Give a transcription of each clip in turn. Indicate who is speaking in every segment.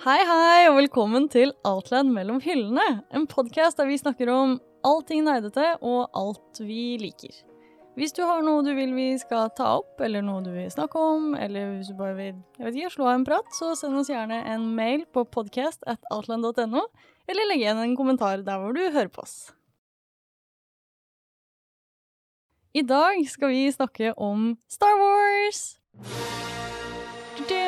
Speaker 1: Hei, hei, og velkommen til Outland mellom hyllene. En podkast der vi snakker om allting nerdete og alt vi liker. Hvis du har noe du vil vi skal ta opp, eller noe du vil snakke om, eller hvis du bare vil jeg vet ikke, slå av en prat, så send oss gjerne en mail på podcast at outland.no, eller legg igjen en kommentar der hvor du hører på oss. I dag skal vi snakke om Star Wars. Du-du.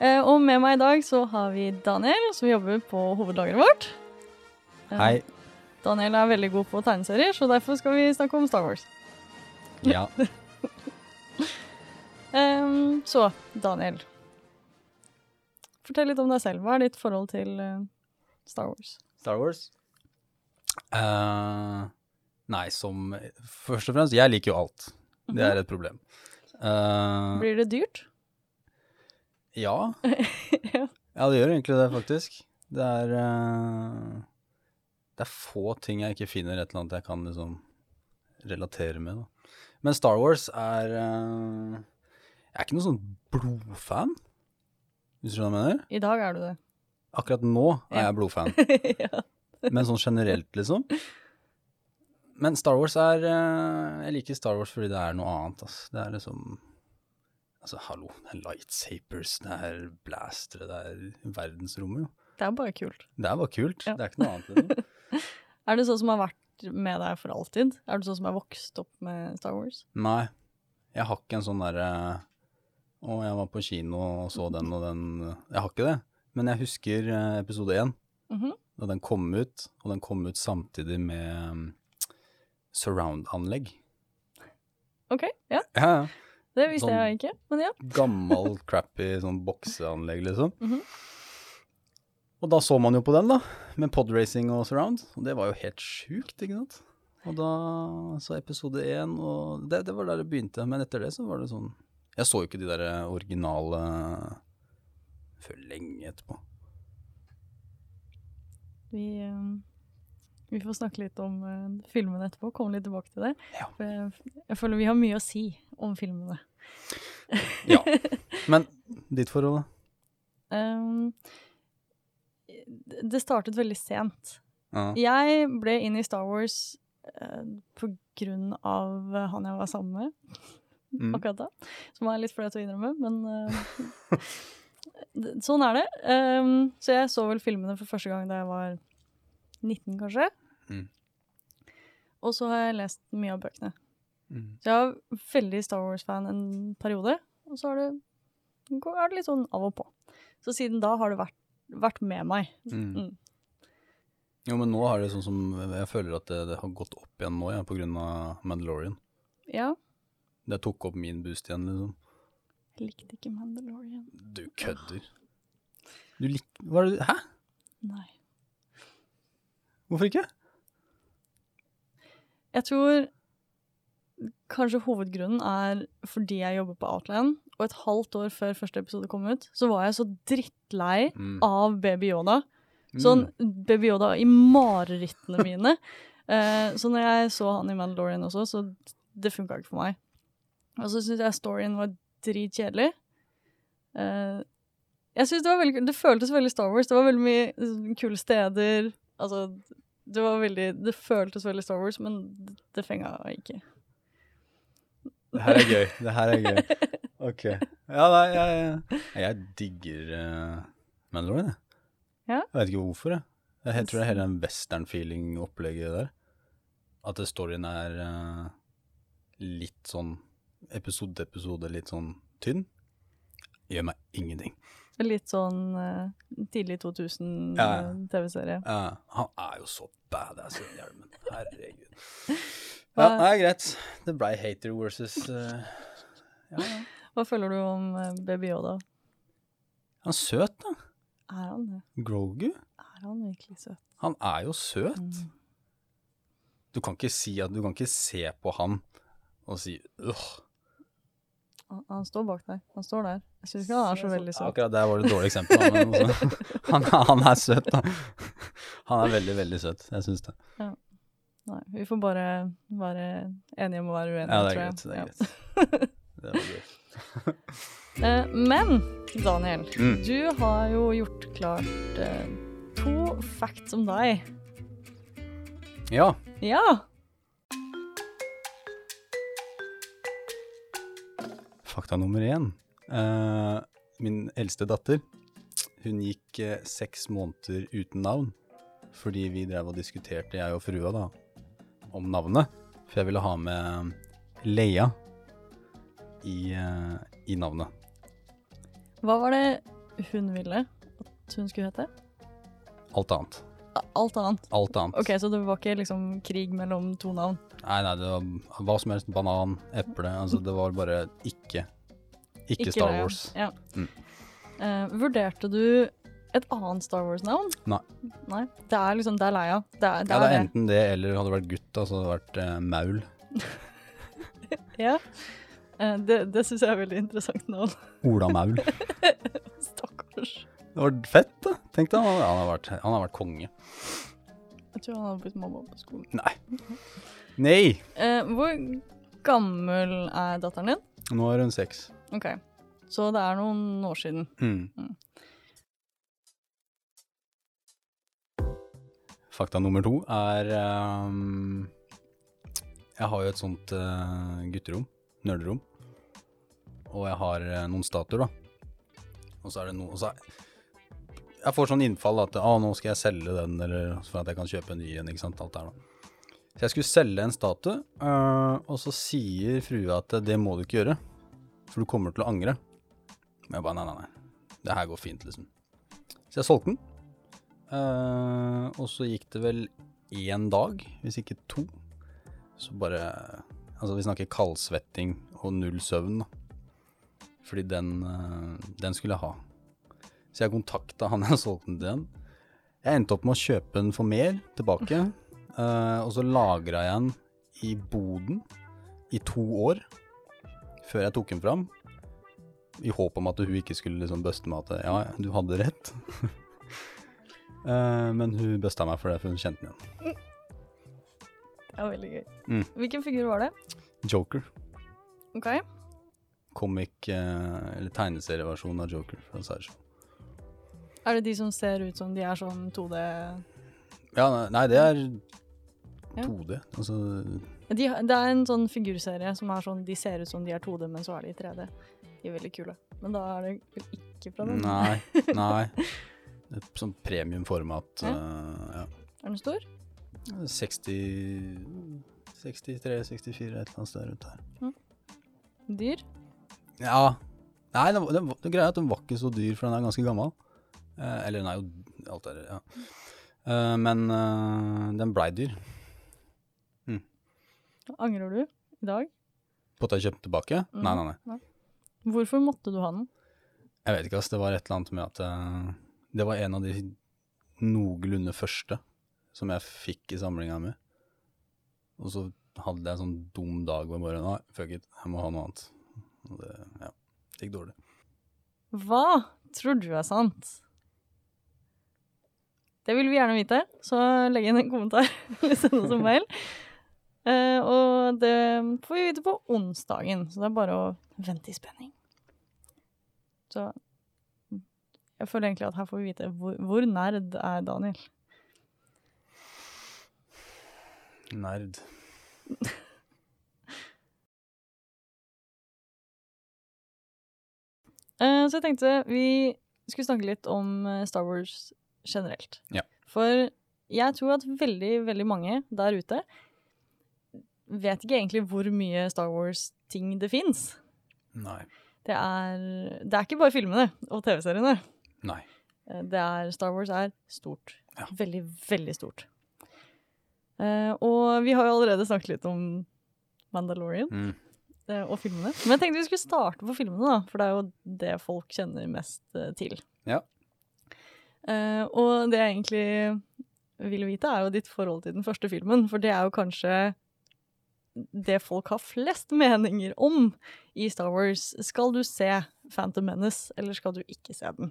Speaker 1: Eh, Og med meg i dag så har vi Daniel, som jobber på hovedlageret vårt. Eh,
Speaker 2: Hei.
Speaker 1: Daniel er veldig god på tegneserier, så derfor skal vi snakke om Star Wars.
Speaker 2: Ja.
Speaker 1: Ehm, så, Daniel. Fortell litt om deg selv. Hva er ditt forhold til eh, Star Wars?
Speaker 2: Star Wars? Eh, nei, som Først og fremst, jeg liker jo alt. Det er et problem. Eh,
Speaker 1: Mhm. Blir det dyrt?
Speaker 2: ja.
Speaker 1: Ja.
Speaker 2: ja, det gjør egentlig det, faktisk. Det er eh, Det er få ting jeg ikke finner et eller annet jeg kan liksom relatere med. Da. Men Star Wars er eh, Jeg er ikke noen sånn blodfan, hvis du skjønner hva jeg mener.
Speaker 1: I dag er du det.
Speaker 2: Akkurat nå er
Speaker 1: Ja.
Speaker 2: jeg blodfan.
Speaker 1: ja.
Speaker 2: Men sånn generelt, liksom. Men Star Wars er eh, Jeg liker Star Wars fordi det er noe annet, ass. Det er liksom Altså, hallo, det er lightsabers, det er blastere, det er verdensrommet, jo.
Speaker 1: Det er bare kult.
Speaker 2: Det er bare kult.
Speaker 1: Ja.
Speaker 2: Det er ikke noe annet enn det.
Speaker 1: Er du sånn som har vært med deg for alltid? Er du sånn som har vokst opp med Star Wars?
Speaker 2: Nei. Jeg har ikke en sånn derre Å, jeg var på kino og så den og den Jeg har ikke det. Men jeg husker eh, episode én.
Speaker 1: Mhm.
Speaker 2: Da den kom ut, og den kom ut samtidig med mm, surround-anlegg.
Speaker 1: OK, ja.
Speaker 2: Ja, ja.
Speaker 1: Det visste
Speaker 2: Sånn-
Speaker 1: jeg ikke, men ja.
Speaker 2: gammel, crappy sånn bokseanlegg, liksom.
Speaker 1: Mhm.
Speaker 2: Og da så man jo på den, da, med podracing og surround. Og det var jo helt sjukt, ikke sant. Og da så episode én, og det, det var der det begynte. Men etter det så var det sånn Jeg så jo ikke de der eh, originale eh, før lenge etterpå.
Speaker 1: Vi, ehm, vi får snakke litt om eh, filmene etterpå, komme litt tilbake til det.
Speaker 2: Ja.
Speaker 1: For jeg, jeg føler vi har mye å si om filmene.
Speaker 2: Ja. Men ditt forhold, da?
Speaker 1: Ehm, det det startet veldig sent.
Speaker 2: Ja.
Speaker 1: Jeg ble inn i Star Wars eh, på grunn av eh, han jeg var sammen med
Speaker 2: Mm.
Speaker 1: akkurat da, som er litt flaut å innrømme, men eh, d- sånn er det. Ehm, så jeg så vel filmene for første gang da jeg var 19, kanskje.
Speaker 2: Mm.
Speaker 1: Og så har jeg lest mye av bøkene.
Speaker 2: Mm.
Speaker 1: Så jeg var veldig Star Wars-fan en periode, og så har det, er det litt sånn av og på. Så siden da har det vært, vært med meg.
Speaker 2: Mm.
Speaker 1: Mm.
Speaker 2: Jo, men nå har det sånn som Jeg føler at det, det har gått opp igjen nå, ja, på grunn av Mandalorian.
Speaker 1: Ja,
Speaker 2: Det tok opp min boost igjen, liksom.
Speaker 1: jeg likte ikke Mandalorian.
Speaker 2: Du kødder. Du lik... Hva er det? Hæ?
Speaker 1: Nei.
Speaker 2: Hvorfor ikke?
Speaker 1: Jeg tror kanskje hovedgrunnen er fordi jeg jobber på Outland, og et halvt år før første episode kom ut, så var jeg så drittlei
Speaker 2: Mm.
Speaker 1: av Baby Yoda. Ah, Sånn Baby Yoda i marerittene mine. Eh, så når jeg så han i Mandalorian også, så det funka ikke for meg. Og så syns jeg storyen var dritkjedelig. Eh, jeg synes det, var veldig, det føltes veldig Star Wars. Det var veldig mye eh, kule steder. Altså, det, var veldig, det føltes veldig Star Wars, men det, det fenga ikke.
Speaker 2: Det her er gøy. Det her er gøy. Ok. Ja, nei, jeg, jeg, jeg digger eh, Mandalorian, jeg.
Speaker 1: Ja.
Speaker 2: Jeg vet ikke hvorfor, jeg. Jeg helt tror det er hele den western-feeling-opplegget der. At det storyen er eh, litt sånn episode til episode, litt sånn tynn. Gjør meg ingenting.
Speaker 1: Litt sånn eh, tidlig 2000
Speaker 2: Ja,
Speaker 1: eh,
Speaker 2: ja.
Speaker 1: TV-serie.
Speaker 2: Ja, Eh, han er jo så badass i den hjelmen. Herregud. Ja,
Speaker 1: Hva-
Speaker 2: nei, greit. Det blei hater versus eh, ja, ja.
Speaker 1: Hva føler du om eh, Baby Yoda?
Speaker 2: Han er søt, da.
Speaker 1: Er han det?
Speaker 2: Grogu.
Speaker 1: Er han virkelig søt?
Speaker 2: Han er jo søt.
Speaker 1: Mm.
Speaker 2: Du kan ikke si at du kan ikke se på han og si øh.
Speaker 1: Han, han står bak deg. Han står der. Jeg syns ikke han er så veldig
Speaker 2: Ja,
Speaker 1: søt.
Speaker 2: Akkurat der var det et dårlig eksempel. da, Men også, han, er- han er søt, da. Han er veldig, veldig søt. Jeg syns det.
Speaker 1: Nei, vi får bare være enige om å være uenige,
Speaker 2: Ja, det er
Speaker 1: tror jeg.
Speaker 2: greit. Det
Speaker 1: Ja.
Speaker 2: er greit. Det var gøy.
Speaker 1: Eh, men Daniel,
Speaker 2: Mm.
Speaker 1: du har jo gjort klart eh, to facts om deg.
Speaker 2: Ja.
Speaker 1: Ja!
Speaker 2: Fakta nummer én. Eh, min eldste datter, hun gikk eh, seks måneder uten navn. Fordi vi drev og diskuterte, jeg og frua, da, om navnet. For jeg ville ha med eh, Leia i, eh, i navnet.
Speaker 1: Hva var det hun ville at hun skulle hete?
Speaker 2: Alt annet.
Speaker 1: A- Alt annet.
Speaker 2: Alt annet.
Speaker 1: Ok, Så det var ikke liksom krig mellom to navn?
Speaker 2: Nei, nei, det var hva som helst. Banan, eple. Altså, det var bare ikke. Ikke, Star
Speaker 1: Leia.
Speaker 2: Wars.
Speaker 1: Ja.
Speaker 2: Mm.
Speaker 1: Eh, vurderte du et annet Star Wars-navn?
Speaker 2: Nei.
Speaker 1: Nei, Det er liksom Det er Leia. Det er det.
Speaker 2: Ja, det er
Speaker 1: er det.
Speaker 2: enten det, eller hadde det vært gutt, da, så hadde det vært eh, Maul.
Speaker 1: Ja. Eh, det det syns jeg er veldig interessant navn.
Speaker 2: Ola Maul.
Speaker 1: Stakkars.
Speaker 2: Det var fett, da. Tenk deg, han, han, har vært- han har vært konge.
Speaker 1: Jeg tror han hadde blitt mamma på skolen.
Speaker 2: Nei. Nei!
Speaker 1: Eh, hvor gammel er datteren din?
Speaker 2: Nå er hun seks.
Speaker 1: Ok, så det er noen år siden.
Speaker 2: Mm.
Speaker 1: Mm.
Speaker 2: Fakta nummer to er ehm, Jeg har jo et sånt eh, gutterom, nerderom, og jeg har eh, noen statuer, da. Og så er det noe så er, Jeg får sånn innfall at ah, nå skal jeg selge den, eller for at jeg kan kjøpe en ny en, ikke sant. Alt det her, da. Så jeg skulle selge en statue, eh, og så sier frua at eh, det må du ikke gjøre, for du kommer til å angre. Men jeg bare nei, nei, nei. Det her går fint, liksom. Så jeg solgte den. Eh, og så gikk det vel én dag, hvis ikke to. Så bare Altså, vi snakker kaldsvetting og null søvn, da. Fordi den, eh, den skulle jeg ha. Så jeg kontakta han jeg solgte den til igjen. Jeg endte opp med å kjøpe den for mer tilbake. eh, og så lagra jeg den i boden i to år før jeg tok den fram i håp om at hun ikke skulle liksom bøste meg at ja, du hadde rett. Eh, men hun bøsta meg for det, for hun kjente den igjen.
Speaker 1: Det er veldig gøy.
Speaker 2: Mm.
Speaker 1: Hvilken figur var det?
Speaker 2: Joker.
Speaker 1: Ok,
Speaker 2: Comic, eh, eller tegneserieversjon av Joker. fra Sideshow.
Speaker 1: Er det de som ser ut som de er sånn 2D
Speaker 2: Ja, nei- nei, det er
Speaker 1: Ja.
Speaker 2: 2D. Altså
Speaker 1: de, Det er en sånn figurserie som er sånn de ser ut som de er 2D, men så er de i 3D. De er veldig kule. Men da er det vel ikke fra den?
Speaker 2: Nei. nei. Et sånn premiumformat.
Speaker 1: Ja.
Speaker 2: eh, ja.
Speaker 1: Er den stor?
Speaker 2: 60 63-64, et eller annet sted rundt her.
Speaker 1: Dyr?
Speaker 2: Ja. Nei, den, den, den greia er at den var ikke så dyr, for den er ganske gammel. Eh, eller den er jo alt er, ja. Eh, men eh, den blei dyr.
Speaker 1: Angrer du i dag?
Speaker 2: På at jeg kjøpte tilbake?
Speaker 1: Mm.
Speaker 2: Nei, nei, nei.
Speaker 1: Hvorfor måtte du ha den?
Speaker 2: Jeg vet ikke, ass. Det var et eller annet med at eh, Det var en av de noenlunde første som jeg fikk i samlinga mi. Og så hadde jeg en sånn dum dag hvor jeg bare Nei, fuck it, jeg må ha noe annet. Og det ja, det gikk dårlig.
Speaker 1: Hva tror du er sant? Det vil vi gjerne vite, så legg inn en kommentar eller send oss en mail. Eh, og det får vi vite på onsdagen, så det er bare å vente i spenning. Så jeg føler egentlig at her får vi vite hvor, hvor nerd er Daniel.
Speaker 2: Nerd.
Speaker 1: Eh, så jeg tenkte vi skulle snakke litt om eh, Star Wars generelt.
Speaker 2: Ja.
Speaker 1: For jeg tror at veldig, veldig mange der ute vet ikke egentlig hvor mye Star Wars-ting det fins.
Speaker 2: Nei.
Speaker 1: Det er, det er ikke bare filmene og TV-seriene.
Speaker 2: Nei.
Speaker 1: Eh, Det er, Star Wars er stort.
Speaker 2: Ja.
Speaker 1: Veldig, veldig stort. Eh, og vi har jo allerede snakket litt om Mandalorian
Speaker 2: Mm.
Speaker 1: eh, og filmene. Men jeg tenkte vi skulle starte på filmene, da, for det er jo det folk kjenner mest eh, til.
Speaker 2: Ja.
Speaker 1: Eh, og det jeg egentlig vil vite, er jo ditt forhold til den første filmen, for det er jo kanskje det folk har flest meninger om i Star Wars. Skal du se Phantom Menace, eller skal du ikke se den?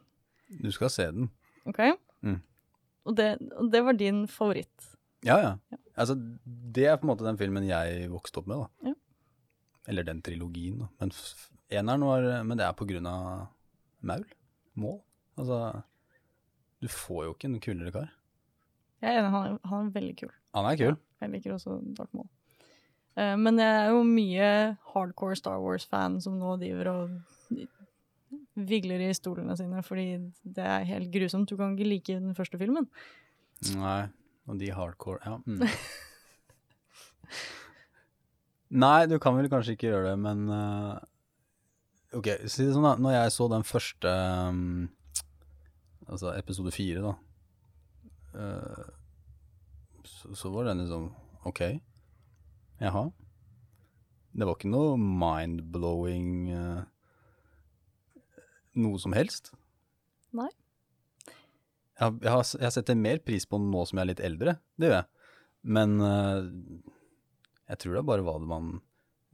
Speaker 2: Du skal se den.
Speaker 1: Ok?
Speaker 2: Mm.
Speaker 1: Og, det, og det var din favoritt.
Speaker 2: Ja, ja. Altså, det er på en måte den filmen jeg vokste opp med, da.
Speaker 1: Ja.
Speaker 2: Eller den trilogien, da. Men f- eneren var Men det er på grunn av Maul. Mål. Altså Du får jo ikke en kulere kar.
Speaker 1: Jeg er enig, han er, han er veldig kul.
Speaker 2: Han er kul.
Speaker 1: Jeg liker også Darth Maul. Eh, men jeg er jo mye hardcore Star Wars-fan som nå driver og vigler i stolene sine, fordi det er helt grusomt. Du kan ikke like den første filmen.
Speaker 2: Nei, og de hardcore Ja. Mm. Nei, du kan vel kanskje ikke gjøre det, men eh, Ok, si det sånn, da. Når jeg så den første mm, Altså episode fire, da, eh, så, så var den liksom OK. Jaha. Det var ikke noe mind-blowing eh, noe som helst.
Speaker 1: Nei.
Speaker 2: Jeg, har- jeg, har, s- jeg setter mer pris på den nå som jeg er litt eldre, det gjør jeg. Men eh, jeg tror det bare var det man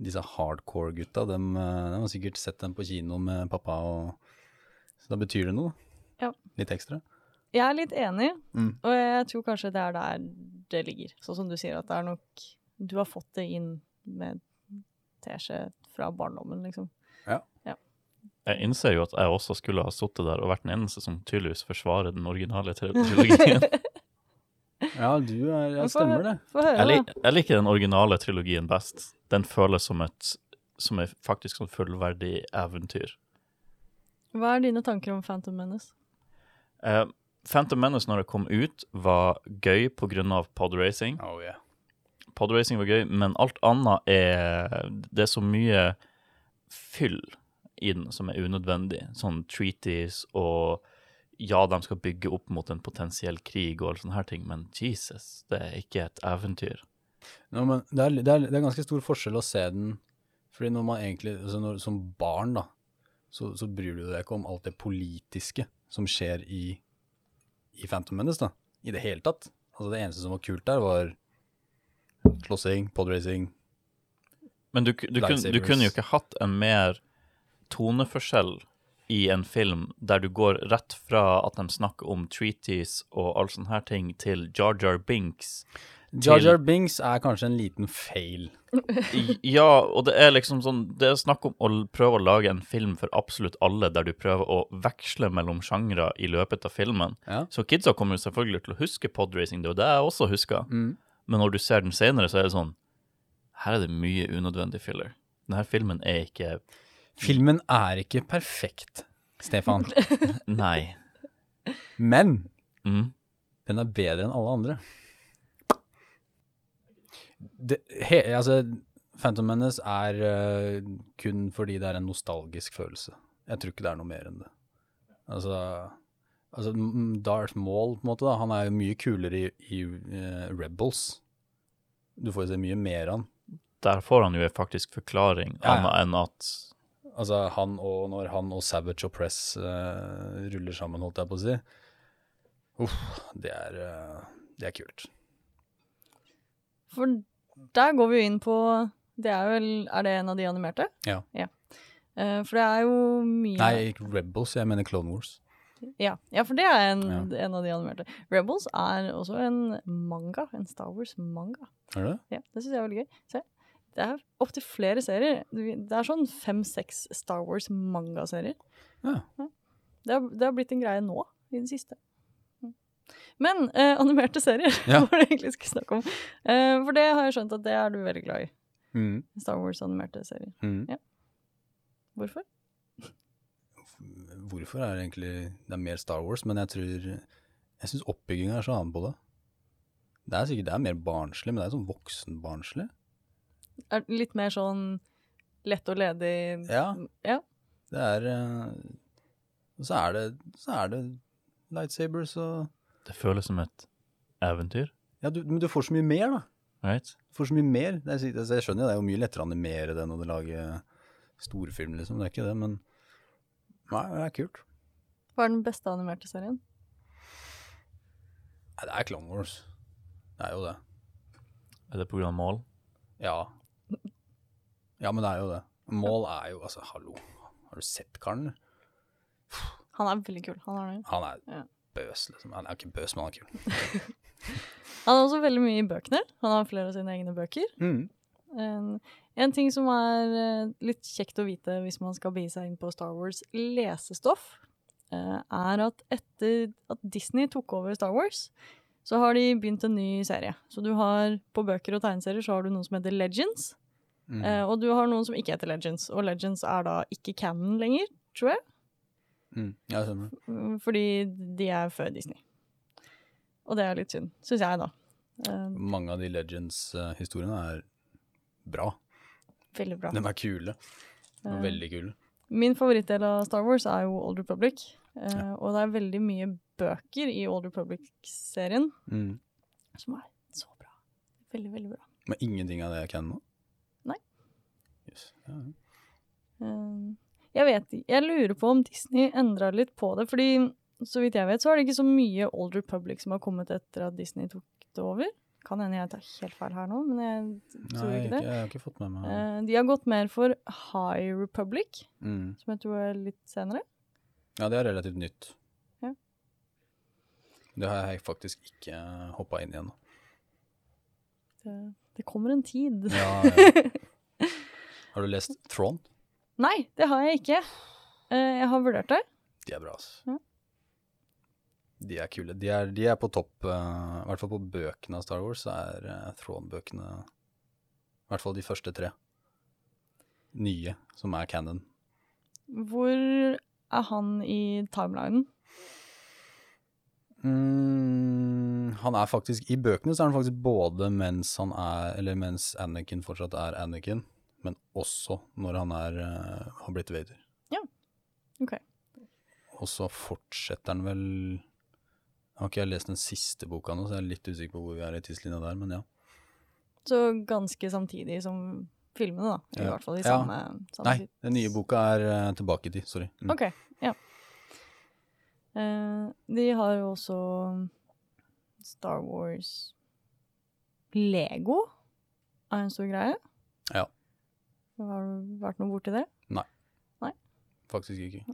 Speaker 2: Disse hardcore-gutta, de, eh, har sikkert sett den på kino med pappa, og, så da betyr det noe. da.
Speaker 1: Ja.
Speaker 2: Litt ekstra.
Speaker 1: Jeg er litt enig,
Speaker 2: Mm.
Speaker 1: og jeg tror kanskje det er der det ligger. Sånn som du sier, at det er nok Du har fått det inn med teskje fra barndommen, liksom.
Speaker 3: Jeg innser jo at jeg også skulle ha sittet der og vært den eneste som tydeligvis forsvarer den originale tri- trilogien.
Speaker 2: Ja, du er, ja,
Speaker 1: Men får
Speaker 2: stemmer det.
Speaker 1: Få
Speaker 3: Jeg,
Speaker 1: høre,
Speaker 3: lik,
Speaker 1: da.
Speaker 3: jeg liker den originale trilogien best. Den føles som et som er faktisk sånn fullverdig eventyr.
Speaker 1: Hva er dine tanker om Phantom Menace?
Speaker 3: Eh, Phantom Menace når det kom ut, var gøy pga. podracing.
Speaker 2: Oh, yeah.
Speaker 3: Podracing var gøy, men alt annet er Det er så mye fyll i den som er unødvendig. Sånn treaties og Ja, de skal bygge opp mot en potensiell krig og alle sånne her ting, men Jesus, det er ikke et eventyr.
Speaker 2: Ja, men det, er, det, er, det er ganske stor forskjell å se den, fordi når man egentlig, altså når, som barn da, så, så bryr du deg ikke om alt det politiske som skjer i, i Phantom Menace da, i det hele tatt. Altså det eneste som var kult der var slåssing, podracing.
Speaker 3: Men du, ku- du, kunne, du
Speaker 2: Lightsabers.
Speaker 3: kunne jo ikke hatt en mer toneforskjell i en film der du går rett fra at de snakker om treaties og all sånne her ting, til Jar Jar Binks.
Speaker 2: Jar
Speaker 3: Til-
Speaker 2: Jar Binks er kanskje en liten fail.
Speaker 3: I- Ja, og det er liksom sånn Det er snakk om å l- prøve å lage en film for absolutt alle, der du prøver å veksle mellom sjangre i løpet av filmen.
Speaker 2: Ja.
Speaker 3: Så kidsa kommer jo selvfølgelig til å huske podracing, det er jo det jeg også husker. Men når du ser den senere, så er det sånn Her er det mye unødvendig filler. Denne filmen er ikke
Speaker 2: Filmen er ikke perfekt, Stefan,
Speaker 3: Nei.
Speaker 2: men
Speaker 3: Mm.
Speaker 2: Den er bedre enn alle andre. Det, he, altså, Phantom Menace er øh, kun fordi det er en nostalgisk følelse. Jeg tror ikke det er noe mer enn det. Altså, altså m- Darth Maul, på en måte, da, han er jo mye kulere i, i eh, Rebels. Du får jo se mye mer av han.
Speaker 3: Der får han jo en faktisk forklaring,
Speaker 2: Ja, ja.
Speaker 3: annet enn at
Speaker 2: Altså han og når han og Savage og Press eh, ruller sammen, holdt jeg på å si. Uff, det er, eh, det er kult.
Speaker 1: For der går vi jo inn på det er, vel, er det en av de animerte?
Speaker 2: Ja.
Speaker 1: Eh, for det er jo mye
Speaker 2: Nei, ikke Rebels, jeg mener Clone Wars.
Speaker 1: Ja, ja for det er en, en av de animerte. Rebels er også en manga. En Star Wars-manga.
Speaker 2: Er det?
Speaker 1: Ja, Det syns jeg er veldig gøy. Se. Det er opptil flere serier. Det er sånn fem-seks Star Wars-mangaserier.
Speaker 2: Ja.
Speaker 1: Det, har- det har blitt en greie nå, i det siste. Mm. Men eh, animerte serier
Speaker 2: Ja.
Speaker 1: var det egentlig jeg skulle snakke om. Eh, for det har jeg skjønt at det er du veldig glad i.
Speaker 2: Mm.
Speaker 1: Star Wars-animerte serier. Hvorfor?
Speaker 2: Hvorfor er det egentlig Det er mer Star Wars, men jeg tror Jeg syns oppbygginga er så annen på det. Det er sikkert det er mer barnslig, men det er sånn voksenbarnslig.
Speaker 1: Er det litt mer sånn lett og ledig
Speaker 2: Ja.
Speaker 1: Ja.
Speaker 2: Det er eh, Og så er det Så er det lightsabers og
Speaker 3: det føles som et eventyr,
Speaker 2: Ja, du, men du får så mye mer, da.
Speaker 3: right?
Speaker 2: Du får så mye mer. Det er, sikkert- altså, jeg skjønner jo, det er jo mye lettere å animere det når du lager storfilm, liksom. Det er ikke det, men Nei, det er kult.
Speaker 1: Hva er den beste animerte serien?
Speaker 2: Nei, det er Clone Wars. Det er jo det.
Speaker 3: Er det pga. mål?
Speaker 2: Ja. Ja, men det er jo det. Mål er jo Altså, hallo. Har du sett karen? eller?
Speaker 1: Han er veldig kul. Han er, det.
Speaker 2: Han er
Speaker 1: Ja.
Speaker 2: bøs, liksom. Han er ikke bøs, men han er kul.
Speaker 1: han er også veldig mye i bøkene. Han har flere av sine egne bøker.
Speaker 2: Mm.
Speaker 1: En, en ting som er eh, litt kjekt å vite hvis man skal begi seg inn på Star Wars lesestoff, eh, er at etter at Disney tok over Star Wars, så har de begynt en ny serie. Så du har på bøker og tegneserier så har du noen som heter Legends,
Speaker 2: Mm.
Speaker 1: eh, og du har noen som ikke heter Legends. Og Legends er da ikke canon lenger, tror jeg.
Speaker 2: Mm. Ja, jeg skjønner.
Speaker 1: Mm, Fordi de er før Disney. Og det er litt synd, syns jeg, da. Eh,
Speaker 2: Mange av de Legends-historiene er bra.
Speaker 1: veldig bra.
Speaker 2: De er kule. De
Speaker 1: Eh,
Speaker 2: er veldig kule.
Speaker 1: Min favorittdel av Star Wars er jo Old Republic. eh,
Speaker 2: Ja.
Speaker 1: Og det er veldig mye bøker i Old Republic-serien
Speaker 2: Mm.
Speaker 1: som er så bra. Veldig, veldig bra.
Speaker 2: Men ingenting av det er canon nå?
Speaker 1: Nei.
Speaker 2: Yes. Ja.
Speaker 1: Eh, jeg vet ikke Jeg lurer på om Disney endra litt på det, fordi så vidt jeg vet, så er det ikke så mye Old Republic som har kommet etter at Disney tok det over. Kan hende jeg tar helt feil her nå, men jeg Tror du
Speaker 2: Nei,
Speaker 1: ikke
Speaker 2: ikke,
Speaker 1: det?
Speaker 2: jeg har ikke fått med meg
Speaker 1: Eh, De har gått mer for High Republic,
Speaker 2: mm.
Speaker 1: som jeg tror er litt senere.
Speaker 2: Ja, det er relativt nytt.
Speaker 1: Ja.
Speaker 2: Det har jeg faktisk ikke hoppa inn igjen.
Speaker 1: Det, det kommer en tid.
Speaker 2: Ja, ja. Har du lest Tron?
Speaker 1: Nei, det har jeg ikke. Eh, Jeg har vurdert det.
Speaker 2: De er bra, altså.
Speaker 1: Ja.
Speaker 2: De er kule. De er, de er på topp, eh, i hvert fall på bøkene av Star Wars, så er eh, Thrawn-bøkene I hvert fall de første tre. Nye, som er canon.
Speaker 1: Hvor er han i timelinen?
Speaker 2: Mm, han er faktisk I bøkene så er han faktisk både mens han er Eller mens Anakin fortsatt er Anakin, men også når han er eh, har blitt Vader.
Speaker 1: Ja. Ok.
Speaker 2: Og så fortsetter han vel Jeg har ikke lest den siste boka nå, så jeg er litt usikker på hvor vi er i tidslinja der, men ja.
Speaker 1: Så ganske samtidig som filmene, da. Eller
Speaker 2: Ja.
Speaker 1: i hvert fall i
Speaker 2: Ja.
Speaker 1: samme, samme
Speaker 2: Nei,
Speaker 1: tid.
Speaker 2: den nye boka er eh, tilbake i tid. Sorry. Mm.
Speaker 1: Ok, ja. Eh, De har jo også mm, Star Wars Lego er en stor greie.
Speaker 2: Ja.
Speaker 1: Har du vært noe borti det?
Speaker 2: Faktisk ikke.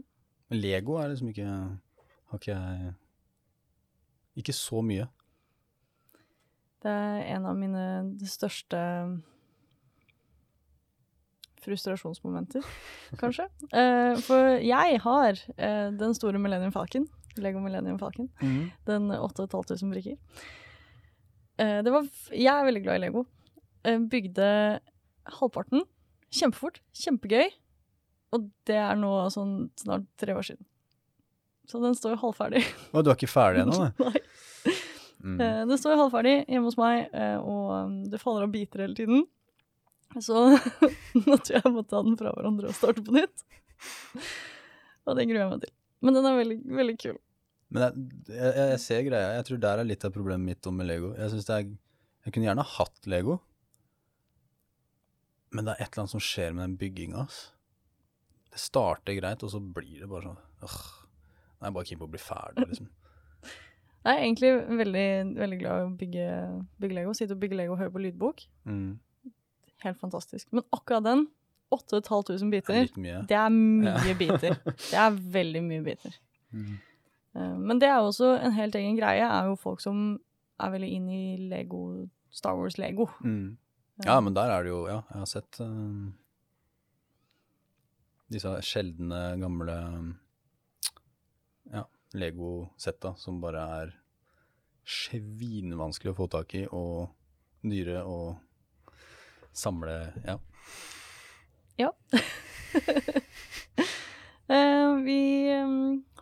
Speaker 2: Men Lego er liksom ikke Har ikke jeg Ikke så mye.
Speaker 1: Det er en av mine største mm, frustrasjonsmomenter, kanskje. Eh, for jeg har eh, den store Millennium Falcon, Lego Millennium Falcon, den 8500 brikker. Eh, det var f jeg er veldig glad i Lego. Eh, bygde halvparten kjempefort, kjempegøy, og det er nå sånn snart tre år siden. Så den står halvferdig.
Speaker 2: Å, du er ikke ferdig ennå, nei?
Speaker 1: Nei.
Speaker 2: Mm.
Speaker 1: Eh, Det står halvferdig hjemme hos meg, eh, og um, det faller av biter hele tiden. Så nå tror jeg jeg må ta den fra hverandre og starte på nytt. Og det gruer jeg meg til. Men den er veldig, veldig kul.
Speaker 2: Men jeg, jeg, jeg- jeg ser greia. Jeg tror der er litt av problemet mitt om med Lego. Jeg synes det er, jeg kunne gjerne hatt Lego, men det er et eller annet som skjer med den bygginga. ass. Det starter greit, og så blir det bare sånn øh, Nei, jeg er bare keen på å bli ferdig, liksom.
Speaker 1: Jeg er egentlig veldig, veldig glad i å bygge, bygge Lego. Sitte og bygge Lego og høre på lydbok.
Speaker 2: Mm.
Speaker 1: Helt fantastisk. Men akkurat den, 8500
Speaker 2: Det er
Speaker 1: biter,
Speaker 2: litt mye.
Speaker 1: det er mye
Speaker 2: Ja.
Speaker 1: biter. Det er veldig mye biter.
Speaker 2: Mm.
Speaker 1: Eh, Men det er jo også en helt egen greie, er jo folk som er veldig inn i Lego, Star Wars Lego.
Speaker 2: Mm. Ja, men der er det jo Ja, jeg har sett eh, disse sjeldne, gamle ja, Lego-setta som bare er svinvanskelig å få tak i, og dyre å samle Ja.
Speaker 1: Eh, vi eh,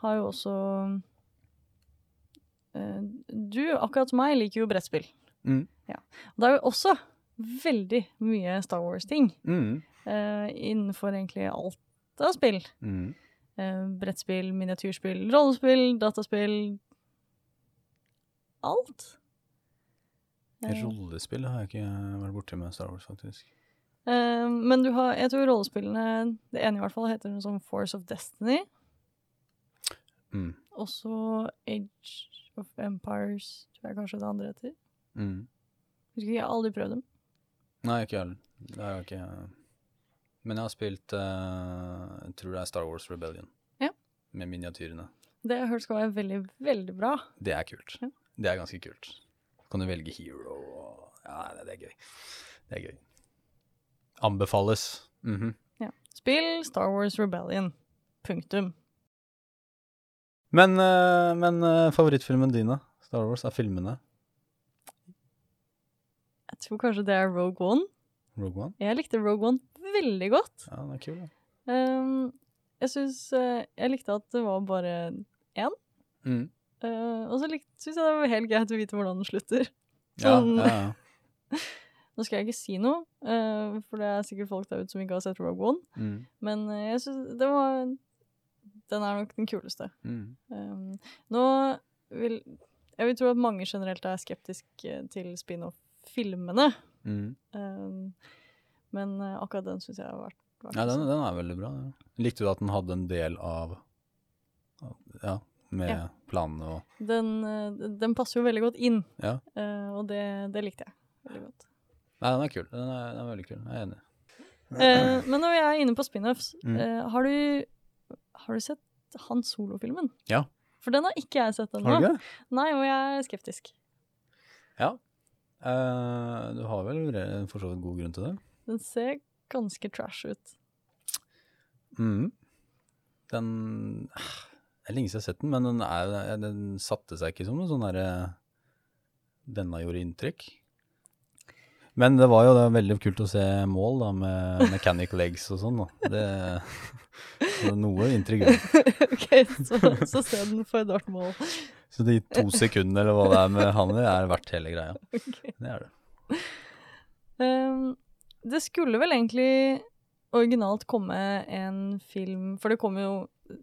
Speaker 1: har jo også eh, Du, akkurat som meg, liker jo brettspill.
Speaker 2: Mm.
Speaker 1: Ja. Og det er jo også veldig mye Star Wars-ting
Speaker 2: Mm.
Speaker 1: eh, innenfor egentlig alt av spill.
Speaker 2: Mm.
Speaker 1: Eh, brettspill, miniatyrspill, rollespill, dataspill Alt. Eh,
Speaker 2: Rollespill har jeg ikke vært borti med Star Wars, faktisk.
Speaker 1: eh, men du har, jeg tror rollespillene, det ene i hvert fall, heter noe sånn Force of Destiny.
Speaker 2: Mm.
Speaker 1: Også Age of Empires, tror jeg kanskje det andre heter.
Speaker 2: Mm.
Speaker 1: Husker ikke, jeg har aldri prøvd dem.
Speaker 2: Nei, ikke jeg heller. Det har jeg ikke. Men jeg har spilt eh, Jeg tror det er Star Wars Rebellion.
Speaker 1: Ja.
Speaker 2: Med miniatyrene.
Speaker 1: Det jeg har hørt skal være veldig, veldig bra.
Speaker 2: Det er kult.
Speaker 1: Ja.
Speaker 2: Det er ganske kult. Kan du velge hero og Ja, det, det er gøy. Det er gøy. Anbefales. Mhm.
Speaker 1: Spill Star Wars Rebellion. Punktum.
Speaker 2: Men, eh, men eh, favorittfilmen din, da? Star Wars, er filmene
Speaker 1: Jeg tror kanskje det er Rogue One.
Speaker 2: Rogue One?
Speaker 1: Jeg likte Rogue One veldig godt.
Speaker 2: Ja, den er kul, da.
Speaker 1: Ehm, jeg syns eh, Jeg likte at det var bare
Speaker 2: Mm.
Speaker 1: eh, Og så syns jeg det var helt greit å vite hvordan den slutter.
Speaker 2: Ja,
Speaker 1: Sånn-
Speaker 2: ja, ja.
Speaker 1: Nå skal jeg ikke si noe, eh, for det er sikkert folk der ute som ikke har sett Rogue One,
Speaker 2: Mm.
Speaker 1: men eh, jeg syns det var Den er nok den kuleste.
Speaker 2: Mm.
Speaker 1: Ehm, nå vil Jeg vil tro at mange generelt er skeptiske til spin-off-filmene,
Speaker 2: Mm.
Speaker 1: ehm, men eh, akkurat den syns jeg har vært, vært
Speaker 2: Ja, den, den er veldig bra. Ja. Likte du at den hadde en del av av- Ja, med
Speaker 1: Ja.
Speaker 2: planene og
Speaker 1: den, eh, den passer jo veldig godt inn,
Speaker 2: Ja.
Speaker 1: Eh, og det, det likte jeg veldig godt.
Speaker 2: Nei, den er kul. Den er, den er veldig kul. Jeg er enig.
Speaker 1: Eh, men når jeg er inne på spin-offs,
Speaker 2: Mm.
Speaker 1: eh, har, du, har du sett Han Solo-filmen?
Speaker 2: Ja.
Speaker 1: For den har ikke jeg sett ennå.
Speaker 2: Har du ikke det?
Speaker 1: Nei, og jeg er skeptisk.
Speaker 2: Ja. Eh, du har vel re- for så vidt god grunn til det.
Speaker 1: Den ser ganske trash ut.
Speaker 2: Mm. Den eh, Det er lenge siden jeg har sett den, men den, er, den satte seg ikke som noe sånn derre Denne gjorde inntrykk. Men det var jo da veldig kult å se mål da, med mechanic legs og sånn. da. Det, så noe inntrykk. gjør det.
Speaker 1: ok, så, så se den for Darth Maul.
Speaker 2: Så de to sekundene eller hva det er med han i, er verdt hele greia.
Speaker 1: Ok.
Speaker 2: Det er det.
Speaker 1: Um, det skulle vel egentlig originalt komme en film For det kommer jo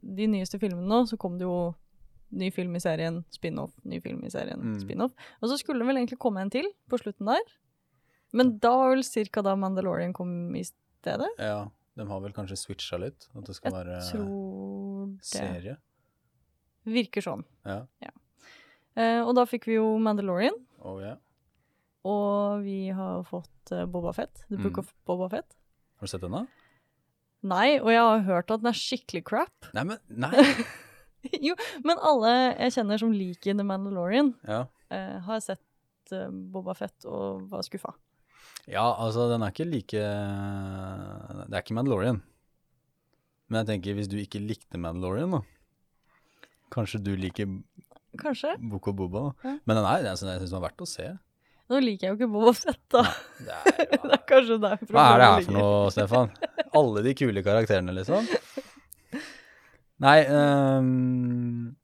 Speaker 1: de nyeste filmene nå, så kom det jo ny film i serien, spin-off, ny film i serien,
Speaker 2: Mm.
Speaker 1: spin-off. Og så skulle det vel egentlig komme en til på slutten der. Men da var vel cirka da Mandalorian kom i stedet.
Speaker 2: Ja, de har vel kanskje switcha litt? At det skal
Speaker 1: Jeg
Speaker 2: være
Speaker 1: tror det
Speaker 2: serie?
Speaker 1: virker sånn.
Speaker 2: Ja.
Speaker 1: Eh, og da fikk vi jo Mandalorian,
Speaker 2: Oh, ja.
Speaker 1: og vi har fått eh, Boba Fett, The Book
Speaker 2: Mm.
Speaker 1: of Boba Fett.
Speaker 2: Har du sett den, da?
Speaker 1: Nei, og jeg har hørt at den er skikkelig crap.
Speaker 2: Nei, men Nei!
Speaker 1: jo, men alle jeg kjenner som liker The Mandalorian,
Speaker 2: Ja.
Speaker 1: eh, har sett eh, Boba Fett og var skuffa.
Speaker 2: Ja, altså, den er ikke like Det er ikke Mandalorian. Men jeg tenker, hvis du ikke likte Mandalorian, da Kanskje du liker
Speaker 1: Kanskje.
Speaker 2: Boko Boba, da.
Speaker 1: Ja.
Speaker 2: Men den er, altså, den, jeg syns den er verdt å se.
Speaker 1: Nå liker jeg jo ikke Boba Fett, da.
Speaker 2: Det er,
Speaker 1: det er kanskje der
Speaker 2: hva er det her
Speaker 1: problemet
Speaker 2: for
Speaker 1: ligger.
Speaker 2: noe, Stefan? Alle de kule karakterene, liksom? Nei um,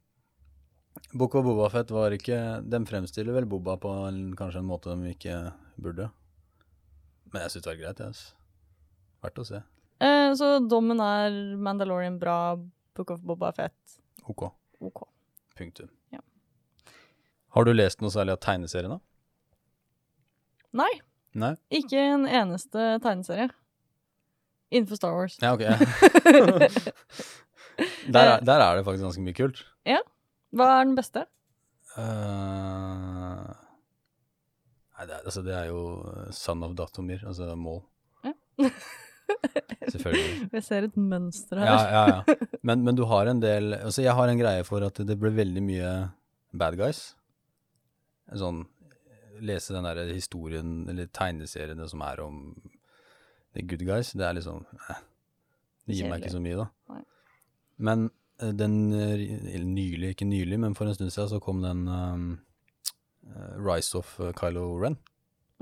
Speaker 2: Boko Boba Fett var ikke De fremstiller vel Boba på en, kanskje en måte de ikke burde. Men jeg syns det var greit. jeg, ass. Verdt å se.
Speaker 1: Eh, så dommen er Mandalorian bra, Book of Boba Fett
Speaker 2: OK.
Speaker 1: OK.
Speaker 2: Punktum.
Speaker 1: Ja.
Speaker 2: Har du lest noe særlig av tegneseriene?
Speaker 1: Nei,
Speaker 2: Nei?
Speaker 1: ikke en eneste tegneserie. Innenfor Star Wars.
Speaker 2: Ja, ok. der, er, der er det faktisk ganske mye kult.
Speaker 1: Hva er den beste?
Speaker 2: Eh, nei, det er, altså, det er jo eh, Son of Datomir, altså mål.
Speaker 1: Ja.
Speaker 2: Selvfølgelig.
Speaker 1: Jeg ser et mønster her.
Speaker 2: Ja, ja, ja. Men, men du har en del altså, Jeg har en greie for at det blir veldig mye bad guys. Sånn Lese den der historien, eller tegneseriene som er om the good guys, det er liksom eh, Det gir meg ikke så mye, da.
Speaker 1: Nei.
Speaker 2: Men eh, den eh, eller nylig, ikke nylig, men for en stund siden så kom den um, eh, Rise of eh, Kylo Ren.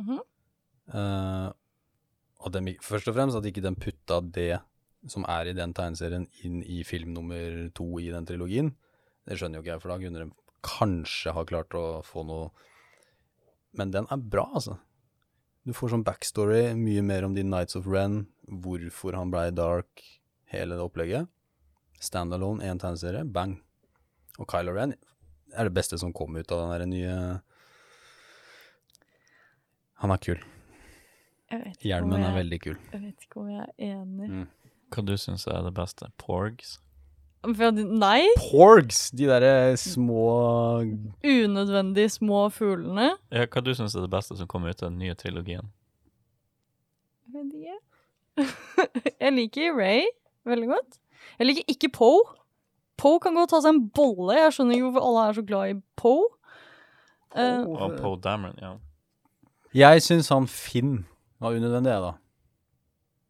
Speaker 1: Mhm.
Speaker 2: Eh, og dem- først og fremst at ikke den putta det som er i den tegneserien, inn i film nummer to i den trilogien. Det skjønner jo ikke jeg, for da kunne de kanskje ha klart å få noe Men den er bra, altså. Du får sånn backstory, mye mer om de Nights of Ren, hvorfor han blei dark, hele det opplegget. Standalone, én tegneserie, bang. Og Kylo Ren er det beste som kom ut av den der nye Han er kul.
Speaker 1: Jeg vet ikke om
Speaker 2: Hjelmen
Speaker 1: jeg-
Speaker 2: er veldig kul.
Speaker 1: Jeg vet ikke om jeg er enig.
Speaker 2: Mm.
Speaker 3: Hva du syns er det beste? Porgs?
Speaker 1: For at- Nei!
Speaker 2: Porgs! De derre små
Speaker 1: Unødvendig små fuglene.
Speaker 3: Ja, hva du syns er det beste som kommer ut av den nye trilogien?
Speaker 1: Jeg vet ikke. Jeg liker Ray veldig godt. Jeg liker ikke Poe. Poe kan godt ta seg en bolle. Jeg skjønner ikke hvorfor alle er så glad i Poe. Eh,
Speaker 3: Og Poe Dameron, ja.
Speaker 2: Jeg syns han Finn var unødvendig, jeg, da.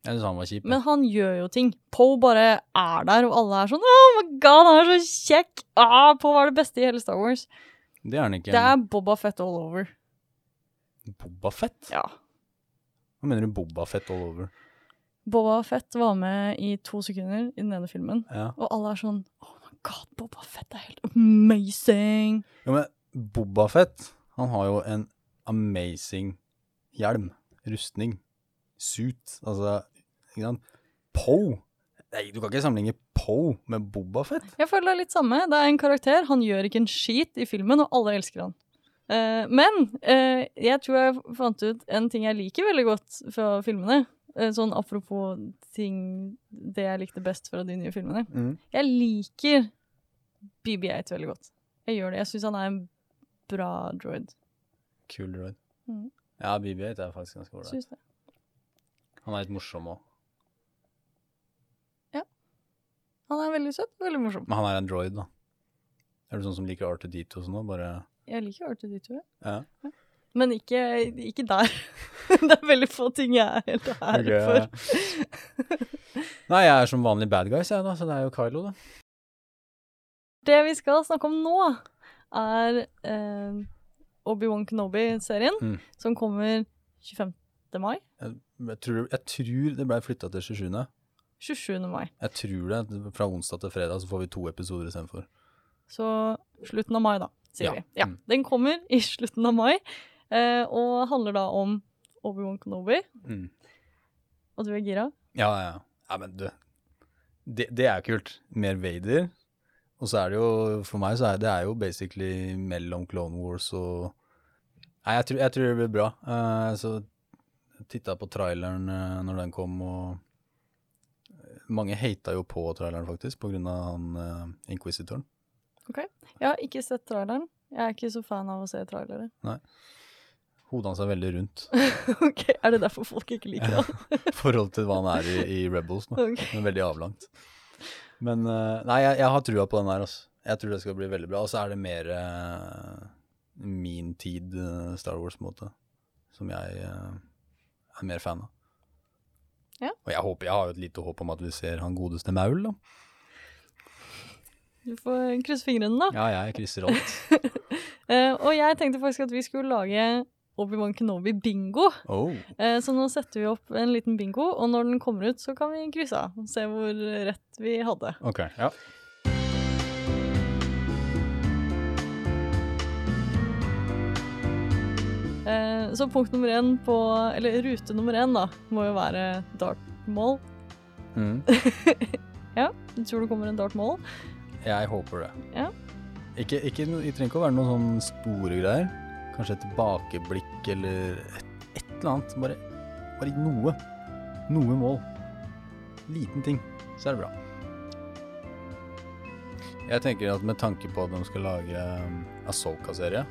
Speaker 2: Jeg syns han var kjip.
Speaker 1: Men han gjør jo ting. Poe bare er der, og alle er sånn Oh my god, han er så kjekk! Ah, Poe var det beste i hele Star Wars.
Speaker 2: Det er han ikke.
Speaker 1: Det er Boba Fett all over.
Speaker 2: Boba Fett?
Speaker 1: Ja.
Speaker 2: Hva mener du Boba Fett all over?
Speaker 1: Boba Fett var med i to sekunder i den ene filmen,
Speaker 2: Ja.
Speaker 1: og alle er sånn Oh my god, Boba Fett er helt amazing!
Speaker 2: Jo, men Boba Fett, han har jo en amazing hjelm, rustning, suit, altså, ikke sant? Poe. Nei, du kan ikke sammenligne Poe med Boba Fett.
Speaker 1: Jeg føler det er litt samme. Det er en karakter, han gjør ikke en skit i filmen, og alle elsker han. Eh, men eh, jeg tror jeg fant ut en ting jeg liker veldig godt fra filmene. Eh, sånn apropos ting Det jeg likte best fra de nye filmene. Jeg liker BB8 veldig godt. Jeg gjør det. Jeg syns han er en bra droid.
Speaker 2: Kul droid.
Speaker 1: Mhm.
Speaker 2: Ja, BB-8 er faktisk ganske ålreit.
Speaker 1: Syns det.
Speaker 2: Han er litt morsom òg.
Speaker 1: Han er veldig søt, veldig morsom.
Speaker 2: Men han er en droid, da. Er du sånn som liker R2D2 og sånn òg? Bare
Speaker 1: Jeg liker Arthur Dito, jeg.
Speaker 2: ja.
Speaker 1: Men ikke, ikke der. det er veldig få ting jeg er helt ærlig
Speaker 2: Ok.
Speaker 1: for.
Speaker 2: Nei, jeg er som vanlig bad guys, jeg, da, så det er jo Kylo, da.
Speaker 1: Det vi skal snakke om nå, er eh, Obi-Wan Kenobi-serien,
Speaker 2: Mm.
Speaker 1: som kommer 25. mai.
Speaker 2: Jeg, jeg, tror, jeg tror det ble flytta til 27.
Speaker 1: 27. mai.
Speaker 2: Jeg tror det. Fra onsdag til fredag så får vi to episoder istedenfor.
Speaker 1: Så slutten av mai, da, sier
Speaker 2: Ja.
Speaker 1: vi. Ja,
Speaker 2: Mm.
Speaker 1: Den kommer i slutten av mai, eh, og handler da om Obi-Wan Kenobi.
Speaker 2: Mm.
Speaker 1: Og du er gira?
Speaker 2: Ja, ja, ja. Ja, men du. Det, det er jo kult. Mer Vader. Og så er det jo, for meg så er det er jo basically mellom Clone Wars og Nei, jeg tror, jeg tror det blir bra. Eh, så titta på traileren eh, når den kom, og mange hata jo på traileren, faktisk, på grunn av han eh, inquisitoren.
Speaker 1: Jeg har ikke sett traileren. Jeg er ikke så fan av å se trailere.
Speaker 2: Hodet hans er veldig rundt
Speaker 1: ok, Er det derfor folk ikke liker
Speaker 2: Ja.
Speaker 1: han?
Speaker 2: i forhold til hva han er i, i Rebels nå.
Speaker 1: Ok.
Speaker 2: Men veldig avlangt. Men eh, nei, jeg, jeg har trua på den her, altså. Jeg tror det skal bli veldig bra. Og så er det mer eh, min tid eh, Star Wars, på en måte, som jeg eh, er mer fan av.
Speaker 1: Ja.
Speaker 2: Og jeg, håper, jeg har jo et lite håp om at vi ser han godeste Maul, da.
Speaker 1: Du får krysse fingrene, da.
Speaker 2: Ja, jeg krysser alt.
Speaker 1: Eh, og jeg tenkte faktisk at vi skulle lage Obi-Wan Kenobi-bingo.
Speaker 2: Oh.
Speaker 1: Eh, Så nå setter vi opp en liten bingo, og når den kommer ut, så kan vi krysse av. og Se hvor rett vi hadde.
Speaker 2: Ok, ja.
Speaker 1: Eh, Så punkt nummer én på Eller rute nummer én, da, må jo være Dark Maul.
Speaker 2: Mm.
Speaker 1: Du tror det kommer en Dark Maul?
Speaker 2: Jeg håper det.
Speaker 1: Ja.
Speaker 2: Ikke, ikke, no- det trenger ikke å være noen sånne store greier. Kanskje et tilbakeblikk eller et, et eller annet. Bare, bare noe. Noe mål. Liten ting, så er det bra. Jeg tenker at med tanke på at de skal lage um, Asoka-serie,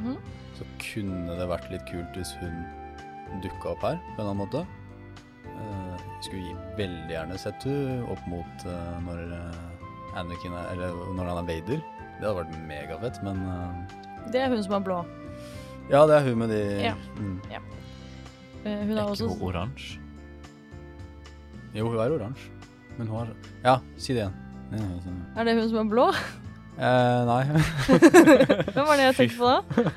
Speaker 1: Mhm.
Speaker 2: så kunne det vært litt kult hvis hun dukka opp her på en eller annen måte. Eh, skulle gi- veldig gjerne sett hun opp mot eh, når eh, Anakin er, eller når han er Vader. Det hadde vært megafett, men eh,
Speaker 1: Det er hun som er blå.
Speaker 2: Ja, det er hun med de
Speaker 1: Ja.
Speaker 2: Mm.
Speaker 1: Eh, Hun
Speaker 3: Er
Speaker 1: er
Speaker 3: ikke
Speaker 1: også
Speaker 3: hun oransje?
Speaker 2: Jo, hun er oransje, men hun har Ja, si det igjen. Ja, ja, sånn.
Speaker 1: Er det hun som er blå?
Speaker 2: Eh, nei.
Speaker 1: Hvem var det jeg tenkte på da?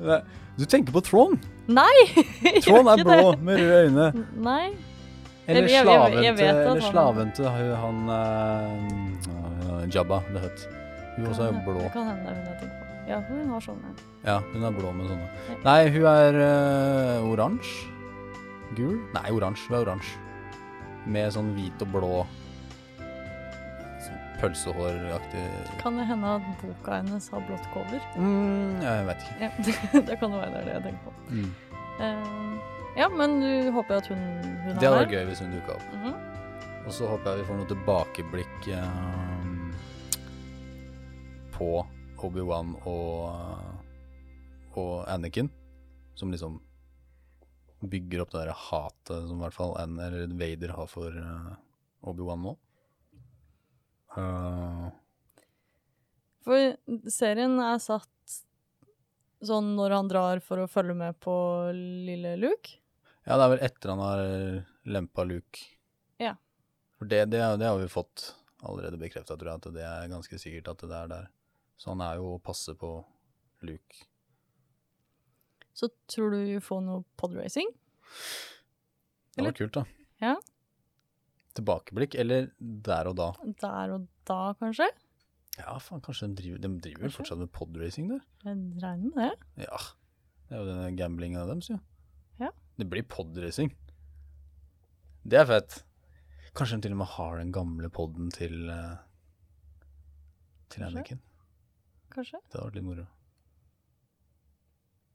Speaker 2: Nei. Du tenker på Trond.
Speaker 1: Jeg
Speaker 2: Trond
Speaker 1: gjør
Speaker 2: er
Speaker 1: ikke
Speaker 2: blå med røde øyne.
Speaker 1: det. Nei.
Speaker 2: Eller
Speaker 1: Jeg- jeg- jeg-
Speaker 2: slaven
Speaker 1: jeg
Speaker 2: til
Speaker 1: vet at
Speaker 2: eller
Speaker 1: han-
Speaker 2: slaven til hu- han eh, eh, Jabba the Hutt. Hun også er
Speaker 1: Kan-
Speaker 2: blå.
Speaker 1: Det kan hende det er hun jeg tenker på. Ja, hun har sånn en.
Speaker 2: Ja, hun er blå med sånne.
Speaker 1: Ja.
Speaker 2: Nei, hun er øh, oransje. Gul? Nei, oransje. Hun er oransje. Med sånn hvit og blå sånn pølsehåraktig
Speaker 1: Kan det hende at boka hennes har blått cover?
Speaker 2: mm, Jeg vet ikke.
Speaker 1: Ja, det kan jo være det er det jeg tenker på.
Speaker 2: Mm.
Speaker 1: Eh, ja, men du håper at hun, hun er
Speaker 2: Det hadde
Speaker 1: her?
Speaker 2: vært gøy hvis hun dukka opp.
Speaker 1: Mhm.
Speaker 2: Og så håper jeg vi får noe tilbakeblikk eh, på Obi-Wan og, eh, og Anakin, som liksom bygger opp det der hatet som i hvert fall An eller Vader har for eh, Obi-Wan nå. Eh,
Speaker 1: For serien er satt sånn når han drar for å følge med på lille Luke.
Speaker 2: ja, det er vel etter han har lempa Luke.
Speaker 1: Ja.
Speaker 2: For det, det, er- det har vi fått allerede bekrefta, tror jeg, at det er ganske sikkert at det er der. Så han er jo å passe på Luke.
Speaker 1: Så tror du vi får noe podracing?
Speaker 2: Det
Speaker 1: Eller-
Speaker 2: var kult, da.
Speaker 1: Ja.
Speaker 2: Tilbakeblikk, eller der og da?
Speaker 1: Der og da, kanskje?
Speaker 2: Ja, faen, kanskje de driver, de driver vel
Speaker 1: Kanskje.
Speaker 2: fortsatt med podracing der?
Speaker 1: Jeg regner med det.
Speaker 2: Ja. Det er jo denne gamblinga deres, jo.
Speaker 1: Ja.
Speaker 2: Det blir podracing. Det er fett. Kanskje de til og med har den gamle podden til eh, Til
Speaker 1: Kanskje.
Speaker 2: Anakin.
Speaker 1: Kanskje.
Speaker 2: Det hadde vært litt moro.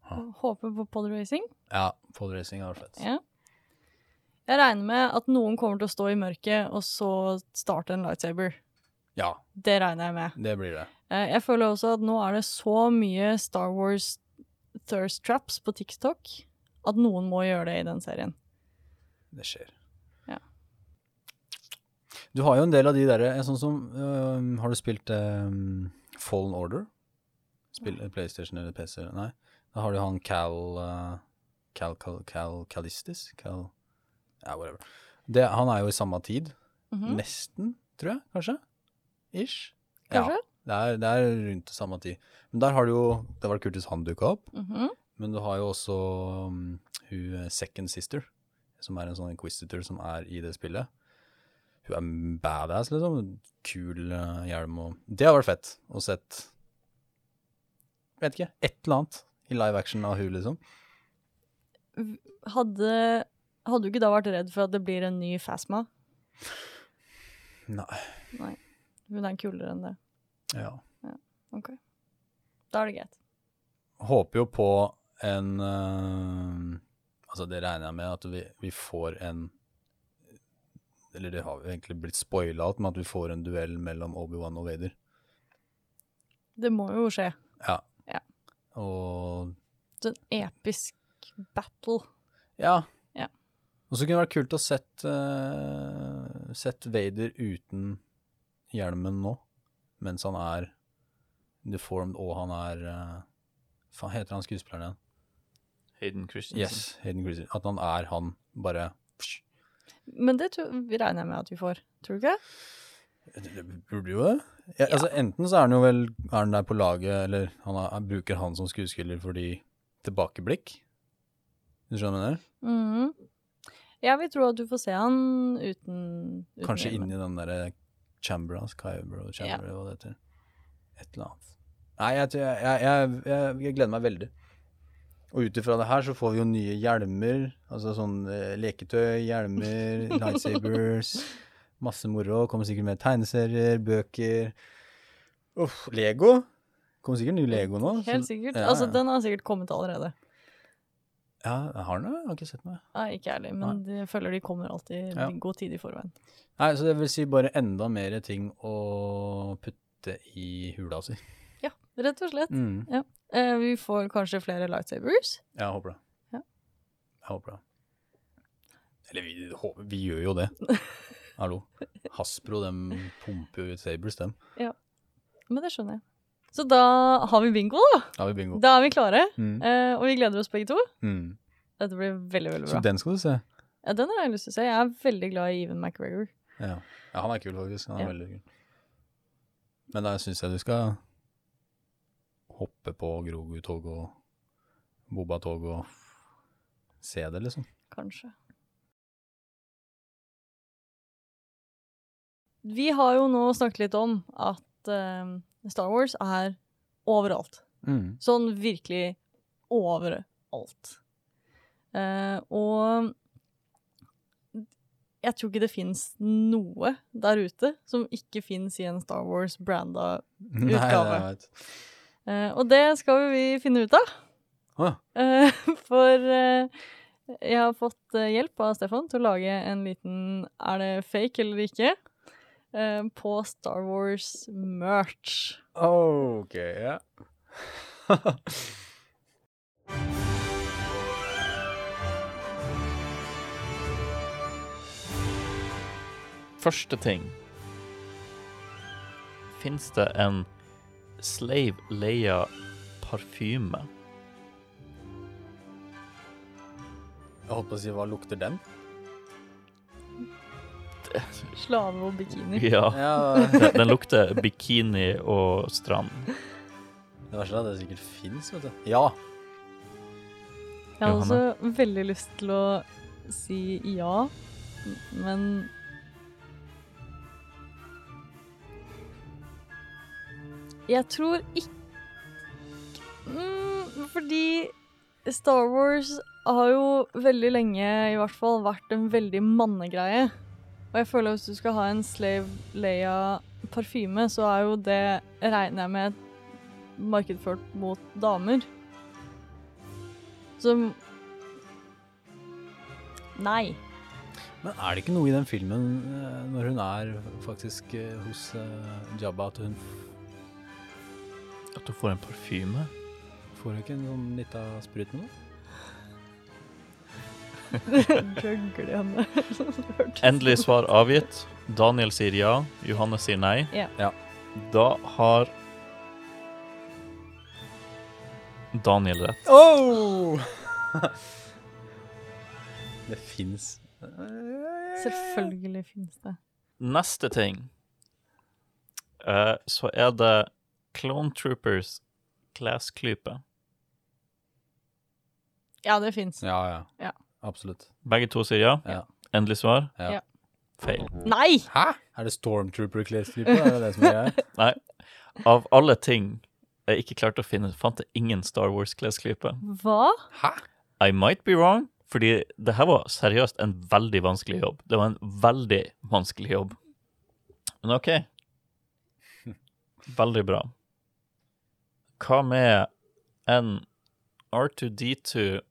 Speaker 2: Ja.
Speaker 1: Hå- Håper på podracing.
Speaker 2: Ja, podracing hadde vært fett.
Speaker 1: Ja. Jeg regner med at noen kommer til å stå i mørket og så starte en lightsaber.
Speaker 2: Ja,
Speaker 1: Det regner jeg med.
Speaker 2: det blir det.
Speaker 1: Eh, Jeg føler også at nå er det så mye Star Wars thirst traps på TikTok at noen må gjøre det i den serien.
Speaker 2: Det skjer.
Speaker 1: Ja.
Speaker 2: Du har jo en del av de derre eh, Sånn som øhm, Har du spilt øhm, Fallen Order? Spill, PlayStation eller PC? Nei. Da har du han Cal eh, Cal, Cal, Cal Calistis? Cal Ja, whatever. Det, han er jo i samme tid.
Speaker 1: Mhm.
Speaker 2: Nesten, tror jeg, kanskje? Ish.
Speaker 1: Kanskje?
Speaker 2: Ja, det er, det er rundt samme tid. Men der har du jo Det var kult hvis han dukka opp.
Speaker 1: Mhm.
Speaker 2: Men du har jo også um, hun eh, Second Sister, som er en sånn inquisitor som er i det spillet. Hun er badass, liksom. Kul eh, hjelm og Det hadde vært fett å sett Vet ikke. Et eller annet i live action av hun, liksom.
Speaker 1: Hadde, hadde du ikke da vært redd for at det blir en ny Phasma?
Speaker 2: Nei.
Speaker 1: Hun er kulere enn det.
Speaker 2: Ja.
Speaker 1: Ok. Da er det greit.
Speaker 2: Håper jo på en eh, Altså, det regner jeg med at vi, vi får en Eller det har jo egentlig blitt spoila alt, men at vi får en duell mellom Obi-Wan og Vader.
Speaker 1: Det må jo skje.
Speaker 2: Ja.
Speaker 1: Ja.
Speaker 2: Og
Speaker 1: Sånn episk battle.
Speaker 2: Ja.
Speaker 1: Ja.
Speaker 2: Og så kunne det vært kult å sett, eh, sett Vader uten hjelmen nå, mens han er deformed og han er eh, Faen, heter han skuespilleren igjen?
Speaker 3: Hayden Christensen.
Speaker 2: Yes, Hayden Christensen. At han er han, bare psh.
Speaker 1: Men det tror, regner jeg med at vi får. Tror du ikke?
Speaker 2: Eh, Det det burde jo det. Ja, Altså, enten så er han jo vel er han der på laget, eller han er, han bruker han som skuespiller fordi tilbakeblikk. Du skjønner hva jeg mener?
Speaker 1: Mhm. Jeg vil tro at du får se han uten, uten
Speaker 2: Kanskje
Speaker 1: hjelmen.
Speaker 2: inni den eh, derre chambera, Skybro chamber, hva det heter. Et eller annet. Nei, jeg, tror- jeg, jeg, jeg, jeg gleder meg veldig. Og ut ifra det her så får vi jo nye hjelmer. Altså sånn eh, leketøy, hjelmer, lightsabers. Masse moro. Kommer sikkert med tegneserier, bøker. Uff, Lego. Kommer sikkert ny Lego nå.
Speaker 1: Helt
Speaker 2: så-
Speaker 1: sikkert.
Speaker 2: Ja,
Speaker 1: Altså,
Speaker 2: ja.
Speaker 1: den har sikkert kommet allerede.
Speaker 2: Ja, jeg har den, jeg har ikke sett den. jeg.
Speaker 1: Nei, ikke ærlig, men jeg føler de kommer alltid
Speaker 2: Ja.
Speaker 1: i god tid i forveien.
Speaker 2: Nei, så det vil si bare enda mer ting å putte i hula si.
Speaker 1: Rett og slett.
Speaker 2: Mm.
Speaker 1: Eh, vi får kanskje flere lightsabers.
Speaker 2: Jeg håper det.
Speaker 1: Ja.
Speaker 2: Jeg håper det. Eller vi, håper, vi gjør jo det. Hallo. Hasbro, dem pumper jo ut Sabres, dem.
Speaker 1: Men det skjønner jeg. Så da har vi bingo, da.
Speaker 2: Da har vi bingo.
Speaker 1: Da er vi klare.
Speaker 2: Mm.
Speaker 1: Eh, og vi gleder oss begge to.
Speaker 2: Mm.
Speaker 1: Dette blir veldig veldig
Speaker 2: Så
Speaker 1: bra.
Speaker 2: den skal du se.
Speaker 1: Ja, den har jeg lyst til å se. Jeg er veldig glad i Even McGregor.
Speaker 2: Ja, ja han er kul, faktisk. Han er
Speaker 1: Ja.
Speaker 2: veldig kul. Men da syns jeg du skal hoppe på Grogu-tog og Boba-tog og se det, liksom.
Speaker 1: Kanskje. Vi har jo nå snakket litt om at eh, Star Wars er overalt.
Speaker 2: Mm.
Speaker 1: Sånn virkelig overalt. Eh, og jeg tror ikke det fins noe der ute som ikke fins i en Star Wars-branda.
Speaker 2: Nei, jeg
Speaker 1: Utgave.
Speaker 2: vet.
Speaker 1: Eh, og det skal jo vi finne ut av.
Speaker 2: Å,
Speaker 1: Eh, for eh, jeg har fått eh, hjelp av Stefan til å lage en liten Er det fake eller ikke? Eh, på Star Wars merch.
Speaker 2: Ok, ja.
Speaker 3: Første ting. Fins det en Slave Leia-parfyme?
Speaker 2: Jeg holdt på å si hva lukter den?
Speaker 1: Slave og bikini.
Speaker 3: Ja.
Speaker 2: Ja,
Speaker 3: Den, den lukter bikini og strand.
Speaker 2: det verste er at det sikkert fins, vet du. Ja.
Speaker 1: Jeg hadde også altså, veldig lyst til å si ja, men Jeg tror ikke mm, Fordi Star Wars har jo veldig lenge i hvert fall vært en veldig mannegreie. Og jeg føler at hvis du skal ha en Slave Leia-parfyme, så er jo det, regner jeg med, markedsført mot damer. Som Nei.
Speaker 2: Men er det ikke noe i den filmen eh, når hun er faktisk eh, hos eh, Jabba, at hun
Speaker 3: At du får en parfyme.
Speaker 2: får hun ikke en sånn lita sprut med noe?
Speaker 1: Gøgler henne.
Speaker 3: Endelig svar avgitt. Daniel sier ja, Johanne sier nei.
Speaker 1: Ja.
Speaker 2: Ja.
Speaker 3: Da har Daniel rett.
Speaker 2: Oh! det fins
Speaker 1: Selvfølgelig finnes det.
Speaker 3: Neste ting eh, Så er det Clone Troopers Class-klype.
Speaker 1: Ja, det fins.
Speaker 2: Ja, ja.
Speaker 1: Ja.
Speaker 2: Absolutt.
Speaker 3: Begge to sier ja.
Speaker 2: Ja.
Speaker 3: Endelig svar?
Speaker 2: Ja.
Speaker 1: Ja.
Speaker 3: Feil.
Speaker 1: Nei!
Speaker 2: Hæ? Er det Stormtrooper klesklype? Er det det som er greia?
Speaker 3: Nei. Av alle ting jeg ikke klarte å finne, fant jeg ingen Star Wars-klesklype.
Speaker 1: Hva?
Speaker 2: Hæ?
Speaker 3: I might be wrong, fordi det her var seriøst en veldig vanskelig jobb. Det var en veldig vanskelig jobb. Men OK. Veldig bra. Hva med en R2D2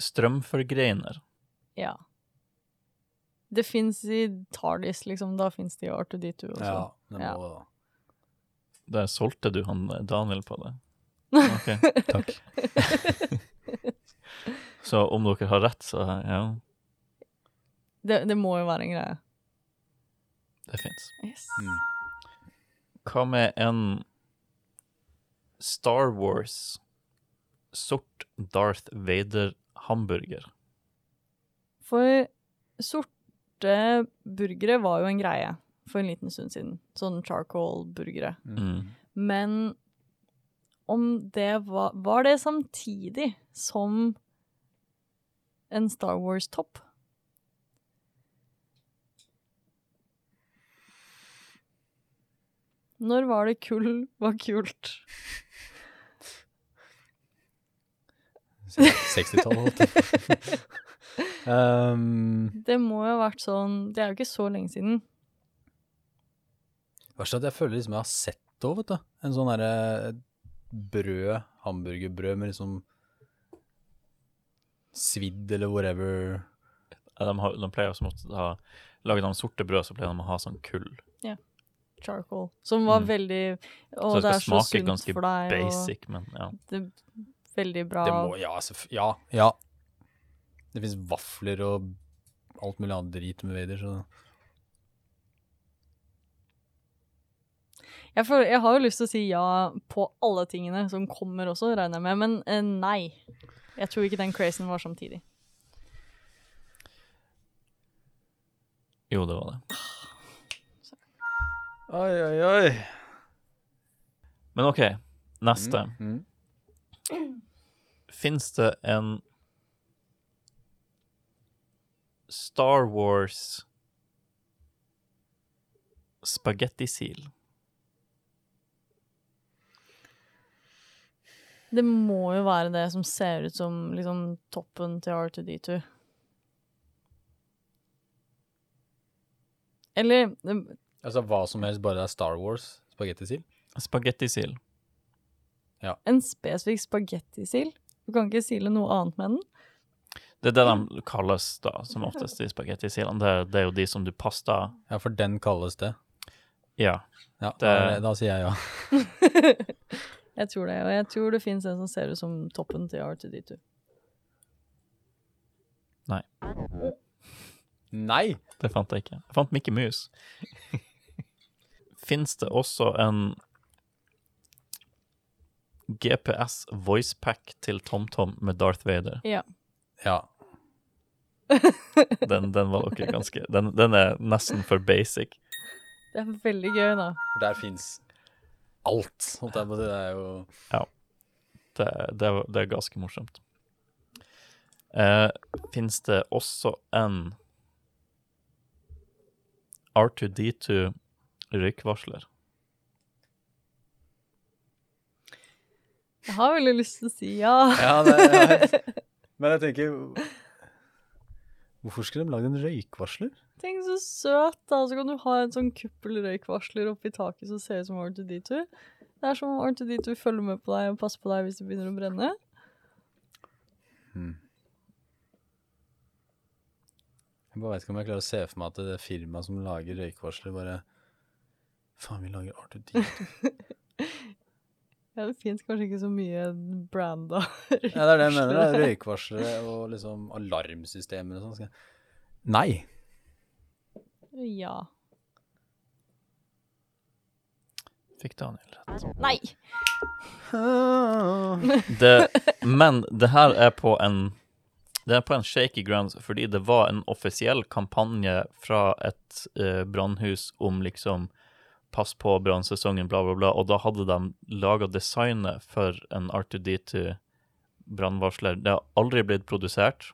Speaker 3: strømforgreiner?
Speaker 1: Ja. Det fins i Tardis, liksom. Da fins det i R2D2 også.
Speaker 2: Ja, det
Speaker 1: Ja.
Speaker 2: må
Speaker 3: Der solgte du han eh, Daniel på det. Ok.
Speaker 2: Takk.
Speaker 3: Så om dere har rett, så ja,
Speaker 1: Det, det må jo være en greie.
Speaker 3: det fins.
Speaker 1: Yes.
Speaker 2: Mm.
Speaker 3: Hva med en Star Wars sort Darth Vader hamburger?
Speaker 1: For sorte burgere var jo en greie for en liten stund siden. Sånn charcoal-burgere.
Speaker 3: Mm.
Speaker 1: Men om det var Var det samtidig som en Star Wars-topp? Når var det kull var kult?
Speaker 2: 60-tallet, holdt jeg på. um,
Speaker 1: Det må jo ha vært sånn Det er jo ikke så lenge siden.
Speaker 2: Verst er at jeg føler liksom jeg har sett det òg, vet du. En sånn derre brød, hamburgerbrød med liksom svidd eller whatever.
Speaker 3: Ja, De, har, de pleier også å ha Lager de sorte brød, så pleier de å ha sånn kull.
Speaker 1: Charcoal. Som var
Speaker 3: Mm.
Speaker 1: veldig Å,
Speaker 3: så
Speaker 1: det
Speaker 3: det
Speaker 1: er så
Speaker 3: skal smake
Speaker 1: sunt
Speaker 3: ganske
Speaker 1: for deg. Og
Speaker 3: basic, men ja.
Speaker 1: det er veldig bra.
Speaker 2: Det må Ja, selvf- ja. ja. Det fins vafler og alt mulig annet drit med Vader, så
Speaker 1: Jeg, føler, jeg har jo lyst til å si ja på alle tingene som kommer også, regner jeg med, men eh, nei. Jeg tror ikke den crazen var samtidig.
Speaker 3: Jo, det var det.
Speaker 2: Oi, oi, oi.
Speaker 3: Men OK, neste. Fins det en Star Wars spagettisil?
Speaker 1: Det må jo være det som ser ut som liksom, toppen til R2D2. Eller eh, det-
Speaker 2: Altså hva som helst, bare det er Star Wars, spagettisild?
Speaker 3: Spagettisil.
Speaker 1: en spesifikk spagettisil. Du kan ikke sile noe annet med den.
Speaker 3: Det er det de kalles da, som oftest i spagettisilene. Det, det er jo de som du pasta
Speaker 2: Ja, for den kalles det.
Speaker 3: Ja.
Speaker 2: Ja,
Speaker 3: Det-
Speaker 2: da, da sier jeg ja.
Speaker 1: Jeg tror det, og jeg tror det finnes en som ser ut som toppen til R2D2.
Speaker 2: Nei!
Speaker 3: Det fant jeg ikke. Jeg fant Mickey Mouse. Fins det også en GPS voicepack til TomTom med Darth Vader?
Speaker 1: Ja.
Speaker 2: Ja.
Speaker 3: Den, den var dere ganske den, den er nesten for basic.
Speaker 1: Det er veldig gøy, da.
Speaker 2: For der fins alt. holdt jeg på å si. Det er jo
Speaker 3: Det, det, var- det er ganske morsomt. Eh, Fins det også en R2D2 røykvarsler?
Speaker 1: Jeg har veldig lyst til å si ja.
Speaker 2: Ja, det Men jeg tenker Hvorfor skulle de lagd en røykvarsler?
Speaker 1: Tenk så søt, da. Så kan du ha en sånn kuppelrøykvarsler oppi taket som ser ut som R2D2. Det er som om R2D2 følger med på deg og passer på deg hvis det begynner å brenne.
Speaker 2: Jeg bare vet ikke om jeg klarer å se for meg at det firmaet som lager røykvarsler, bare Faen, vi lager Arthur Deal.
Speaker 1: Ja, det fins kanskje ikke så mye branda
Speaker 2: Ja, det er det jeg mener. da. Røykvarslere og liksom alarmsystemer og sånn. skal jeg- Nei.
Speaker 1: Ja.
Speaker 3: Fikk Daniel rett.
Speaker 1: Nei!
Speaker 3: Det, men det her er på en Det er på en shaky grounds fordi det var en offisiell kampanje fra et eh, brannhus om liksom Pass på brannsesongen, bla, bla, bla. Og da hadde de laga designet for en R2D2 brannvarsler. Det har aldri blitt produsert,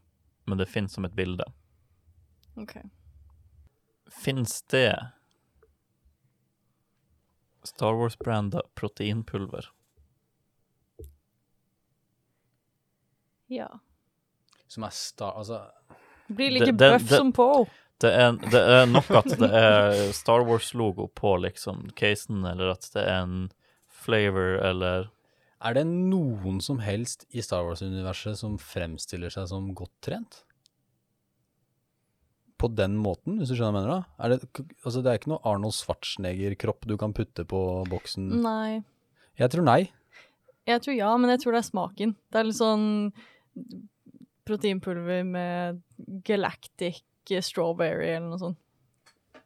Speaker 3: men det fins som et bilde.
Speaker 1: Ok.
Speaker 3: Fins det Star Wars-branda proteinpulver?
Speaker 1: Ja.
Speaker 2: Som er sta... Altså
Speaker 1: Blir
Speaker 3: Det-
Speaker 1: like
Speaker 3: den-
Speaker 1: bøff
Speaker 3: den-
Speaker 1: som på.
Speaker 3: Det er, det er nok at det er Star Wars-logo på liksom casen, eller at det er en flavor, eller
Speaker 2: Er det noen som helst i Star Wars-universet som fremstiller seg som godt trent? På den måten, hvis du skjønner hva jeg mener? da? Er det, k- altså, det er ikke noe Arnold Schwarzenegger-kropp du kan putte på boksen?
Speaker 1: Nei.
Speaker 2: Jeg tror nei.
Speaker 1: Jeg tror ja, men jeg tror det er smaken. Det er litt sånn proteinpulver med galactic strawberry eller noe sånt.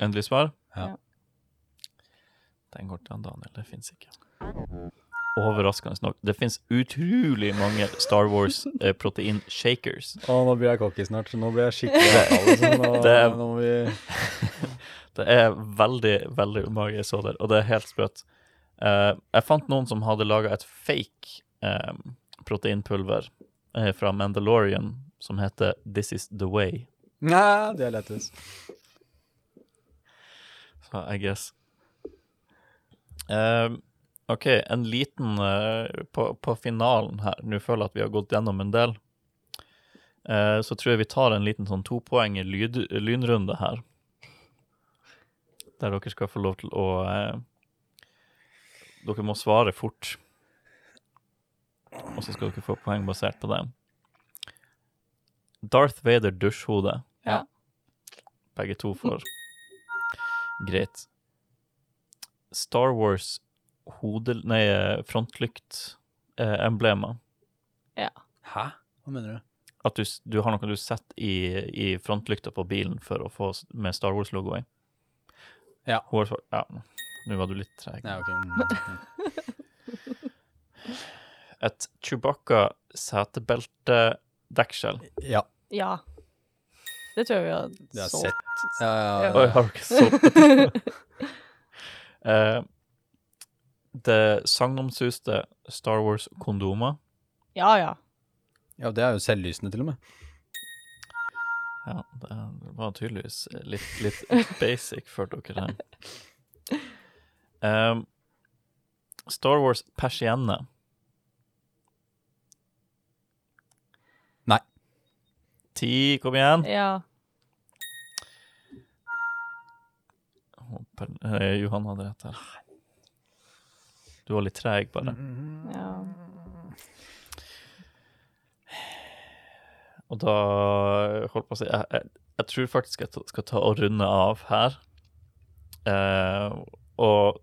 Speaker 3: Endelig svar?
Speaker 2: Ja.
Speaker 1: Ja.
Speaker 3: Den går til han Daniel. Det fins ikke. Overraskende nok. Det fins utrolig mange Star eh, Wars-protein-shakers.
Speaker 2: Å, nå blir jeg cocky snart, så nå blir jeg skikkelig avtale. så nå-
Speaker 3: Det-
Speaker 2: nå må vi-
Speaker 3: Det er veldig, veldig umage jeg så der, og det er helt sprøtt. Eh, jeg fant noen som hadde laga et fake eh, proteinpulver eh, fra Mandalorian som heter This Is The Way.
Speaker 2: Nei, det er lettest.
Speaker 3: Så I guess. Eh, OK, en liten eh, på, på finalen her. Nå føler jeg at vi har gått gjennom en del. Eh, så tror jeg vi tar en liten sånn topoenger lyd, lynrunde her. Der dere skal få lov til å eh, Dere må svare fort. Og så skal dere få poeng basert på det. Darth Vader dusjhode.
Speaker 1: Ja.
Speaker 3: Begge to får. Greit. Star Wars hode... Nei, eh, frontlykt eh, emblema.
Speaker 2: Hæ? Hva mener du?
Speaker 3: At du, s- du har noe du setter i, i frontlykta på bilen for å få s- med Star Wars-logoen.
Speaker 2: Ja.
Speaker 3: Hår, ja. Nå var du litt treg.
Speaker 2: Nei, ok. Mm.
Speaker 3: Et Chewbacca-setebeltedekskjell.
Speaker 2: Ja,
Speaker 1: Ja. Det tror jeg vi har,
Speaker 2: det har jeg
Speaker 1: solgt.
Speaker 2: sett. Ja, ja,
Speaker 3: Oi,
Speaker 2: ja.
Speaker 3: har dere sovet? Eh, det sagnomsuste Star Wars-kondomer.
Speaker 1: Ja, ja.
Speaker 2: ja, det er jo selvlysende til og med.
Speaker 3: Ja, det var tydeligvis litt, litt basic for dere her. Ehm, Star Wars persienne.
Speaker 2: Nei.
Speaker 3: Ti, kom igjen.
Speaker 1: ja.
Speaker 3: Å, per- eh, Johan hadde rett her. Du var litt treg, bare.
Speaker 1: ja.
Speaker 3: Og da holdt på å si Jeg, jeg, jeg tror faktisk jeg ta- skal ta og runde av her. Eh, og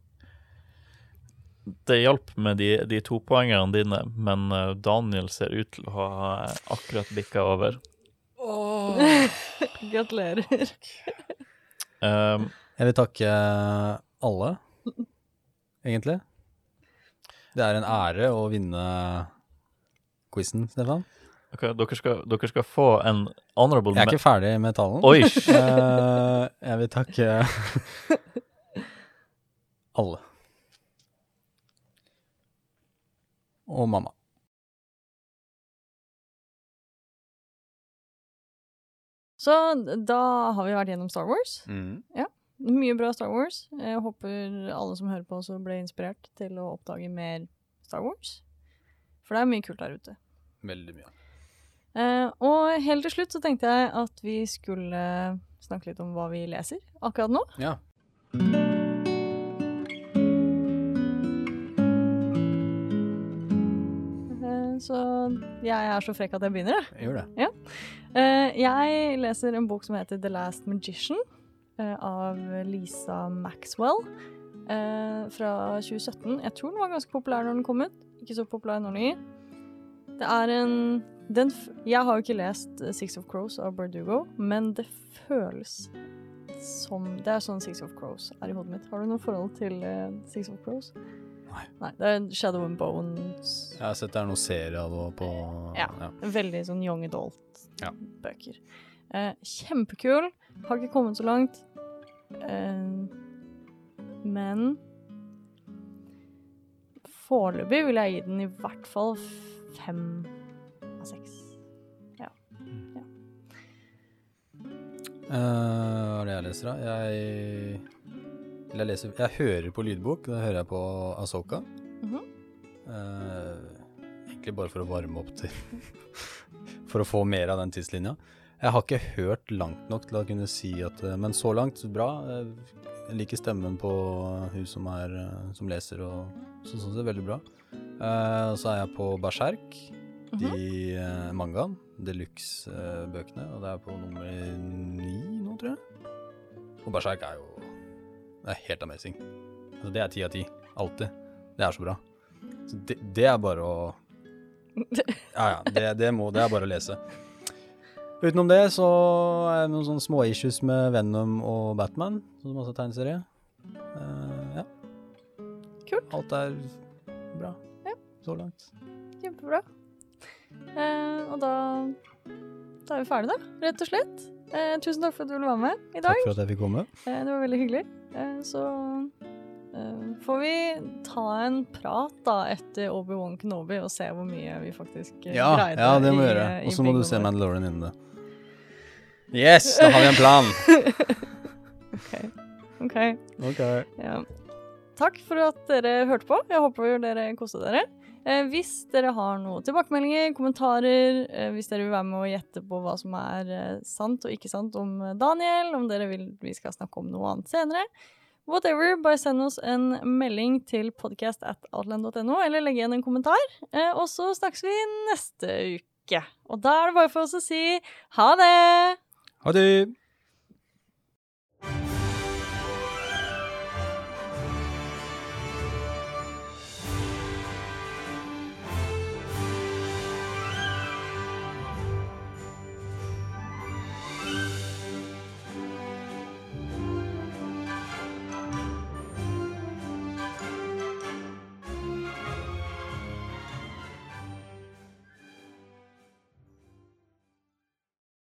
Speaker 3: det hjalp med de, de to poengene dine, men eh, Daniel ser ut til å ha eh, akkurat bikka over.
Speaker 1: Gratulerer.
Speaker 3: Um,
Speaker 2: Jeg vil takke alle, egentlig. Det er en ære å vinne quizen, Stefan.
Speaker 3: Ok, dere, skal, dere skal få en honorable
Speaker 2: Jeg er
Speaker 3: men-
Speaker 2: ikke ferdig med talen.
Speaker 3: Oi!
Speaker 2: Eh, jeg vil takke alle. Og mamma.
Speaker 1: Så da har vi vært gjennom Star Wars. Mye bra Star Wars. Jeg håper alle som hører på også ble inspirert til å oppdage mer Star Wars. For det er mye kult der ute.
Speaker 2: Veldig mye.
Speaker 1: Eh, og helt til slutt så tenkte jeg at vi skulle snakke litt om hva vi leser akkurat nå.
Speaker 2: Ja.
Speaker 1: Eh, så jeg er så frekk at jeg begynner, jeg.
Speaker 2: Jeg gjør det.
Speaker 1: Eh, jeg leser en bok som heter The Last Magician eh, av Lisa Maxwell eh, fra 2017. Jeg tror den var ganske populær når den kom ut. Ikke så populær når den gir. Det er en den f Jeg har jo ikke lest eh, Six of Crows av Bardugo, men det føles som Det er sånn Six of Crows er i hodet mitt. Har du noe forhold til eh, Six of Crows?
Speaker 2: Nei.
Speaker 1: Nei. Det er Shadow and Bones
Speaker 2: Jeg har sett det er noe serie av det på
Speaker 1: Ja. Veldig sånn young
Speaker 2: Ja.
Speaker 1: adult-bøker. Eh, kjempekul. Har ikke kommet så langt. Eh, men foreløpig vil jeg gi den i hvert fall f- fem av seks.
Speaker 2: Eh, Hva er det jeg leser, da? Jeg Eller jeg leser Jeg hører på lydbok. Da hører jeg på Asoka.
Speaker 1: Mhm.
Speaker 2: Eh, egentlig bare for å varme opp til For å få mer av den tidslinja. Jeg har ikke hørt langt nok til å kunne si at eh, Men så langt, så bra. Eh, Jeg liker stemmen på hun som, er, eh, som leser, og så sånn sett veldig bra. Eh, og så er jeg på Berserk
Speaker 1: Mhm.
Speaker 2: de eh, mangaen, deluxe-bøkene, og det er på nummer ni nå, tror jeg. Og Berserk er jo Det er helt amazing. Altså, det er ti av ti. Alltid. Det er så bra. Så det, det er bare å Ja, ja. Det, det, må, det er bare å lese. Utenom det så er det noen sånne små issues med Venom og Batman, som også er tegneserie. Eh, ja.
Speaker 1: Kult.
Speaker 2: Alt er bra.
Speaker 1: Ja.
Speaker 2: Så langt.
Speaker 1: Kjempebra. Eh, og da, da er vi ferdige, da. Rett og slett. Eh, tusen takk for at du ville være med i dag.
Speaker 2: Takk for at jeg fikk komme.
Speaker 1: Eh, Det var veldig hyggelig. Eh, Så eh, får vi ta en prat da etter Obi-Wan Kenobi og se hvor mye vi faktisk eh,
Speaker 2: Ja,
Speaker 1: greide.
Speaker 2: ja, det må
Speaker 1: i,
Speaker 2: vi gjøre.
Speaker 1: eh, i
Speaker 2: Og så må
Speaker 1: Big
Speaker 2: du
Speaker 1: Bang
Speaker 2: se
Speaker 1: Theory.
Speaker 2: Mandalorian innen det. Yes, da har vi en plan!
Speaker 1: Ok,
Speaker 2: Ok.
Speaker 1: ja. Takk for at dere hørte på. Jeg håper dere koste dere. Eh, Hvis dere har noen tilbakemeldinger, kommentarer, eh, hvis dere vil være med og gjette på hva som er eh, sant og ikke sant om eh, Daniel, om dere vil vi skal snakke om noe annet senere, whatever, bare send oss en melding til podcast at outland.no, eller legg igjen en kommentar. Eh, Og så snakkes vi neste uke. Og da er det bare for oss å si ha det!
Speaker 2: Ha det!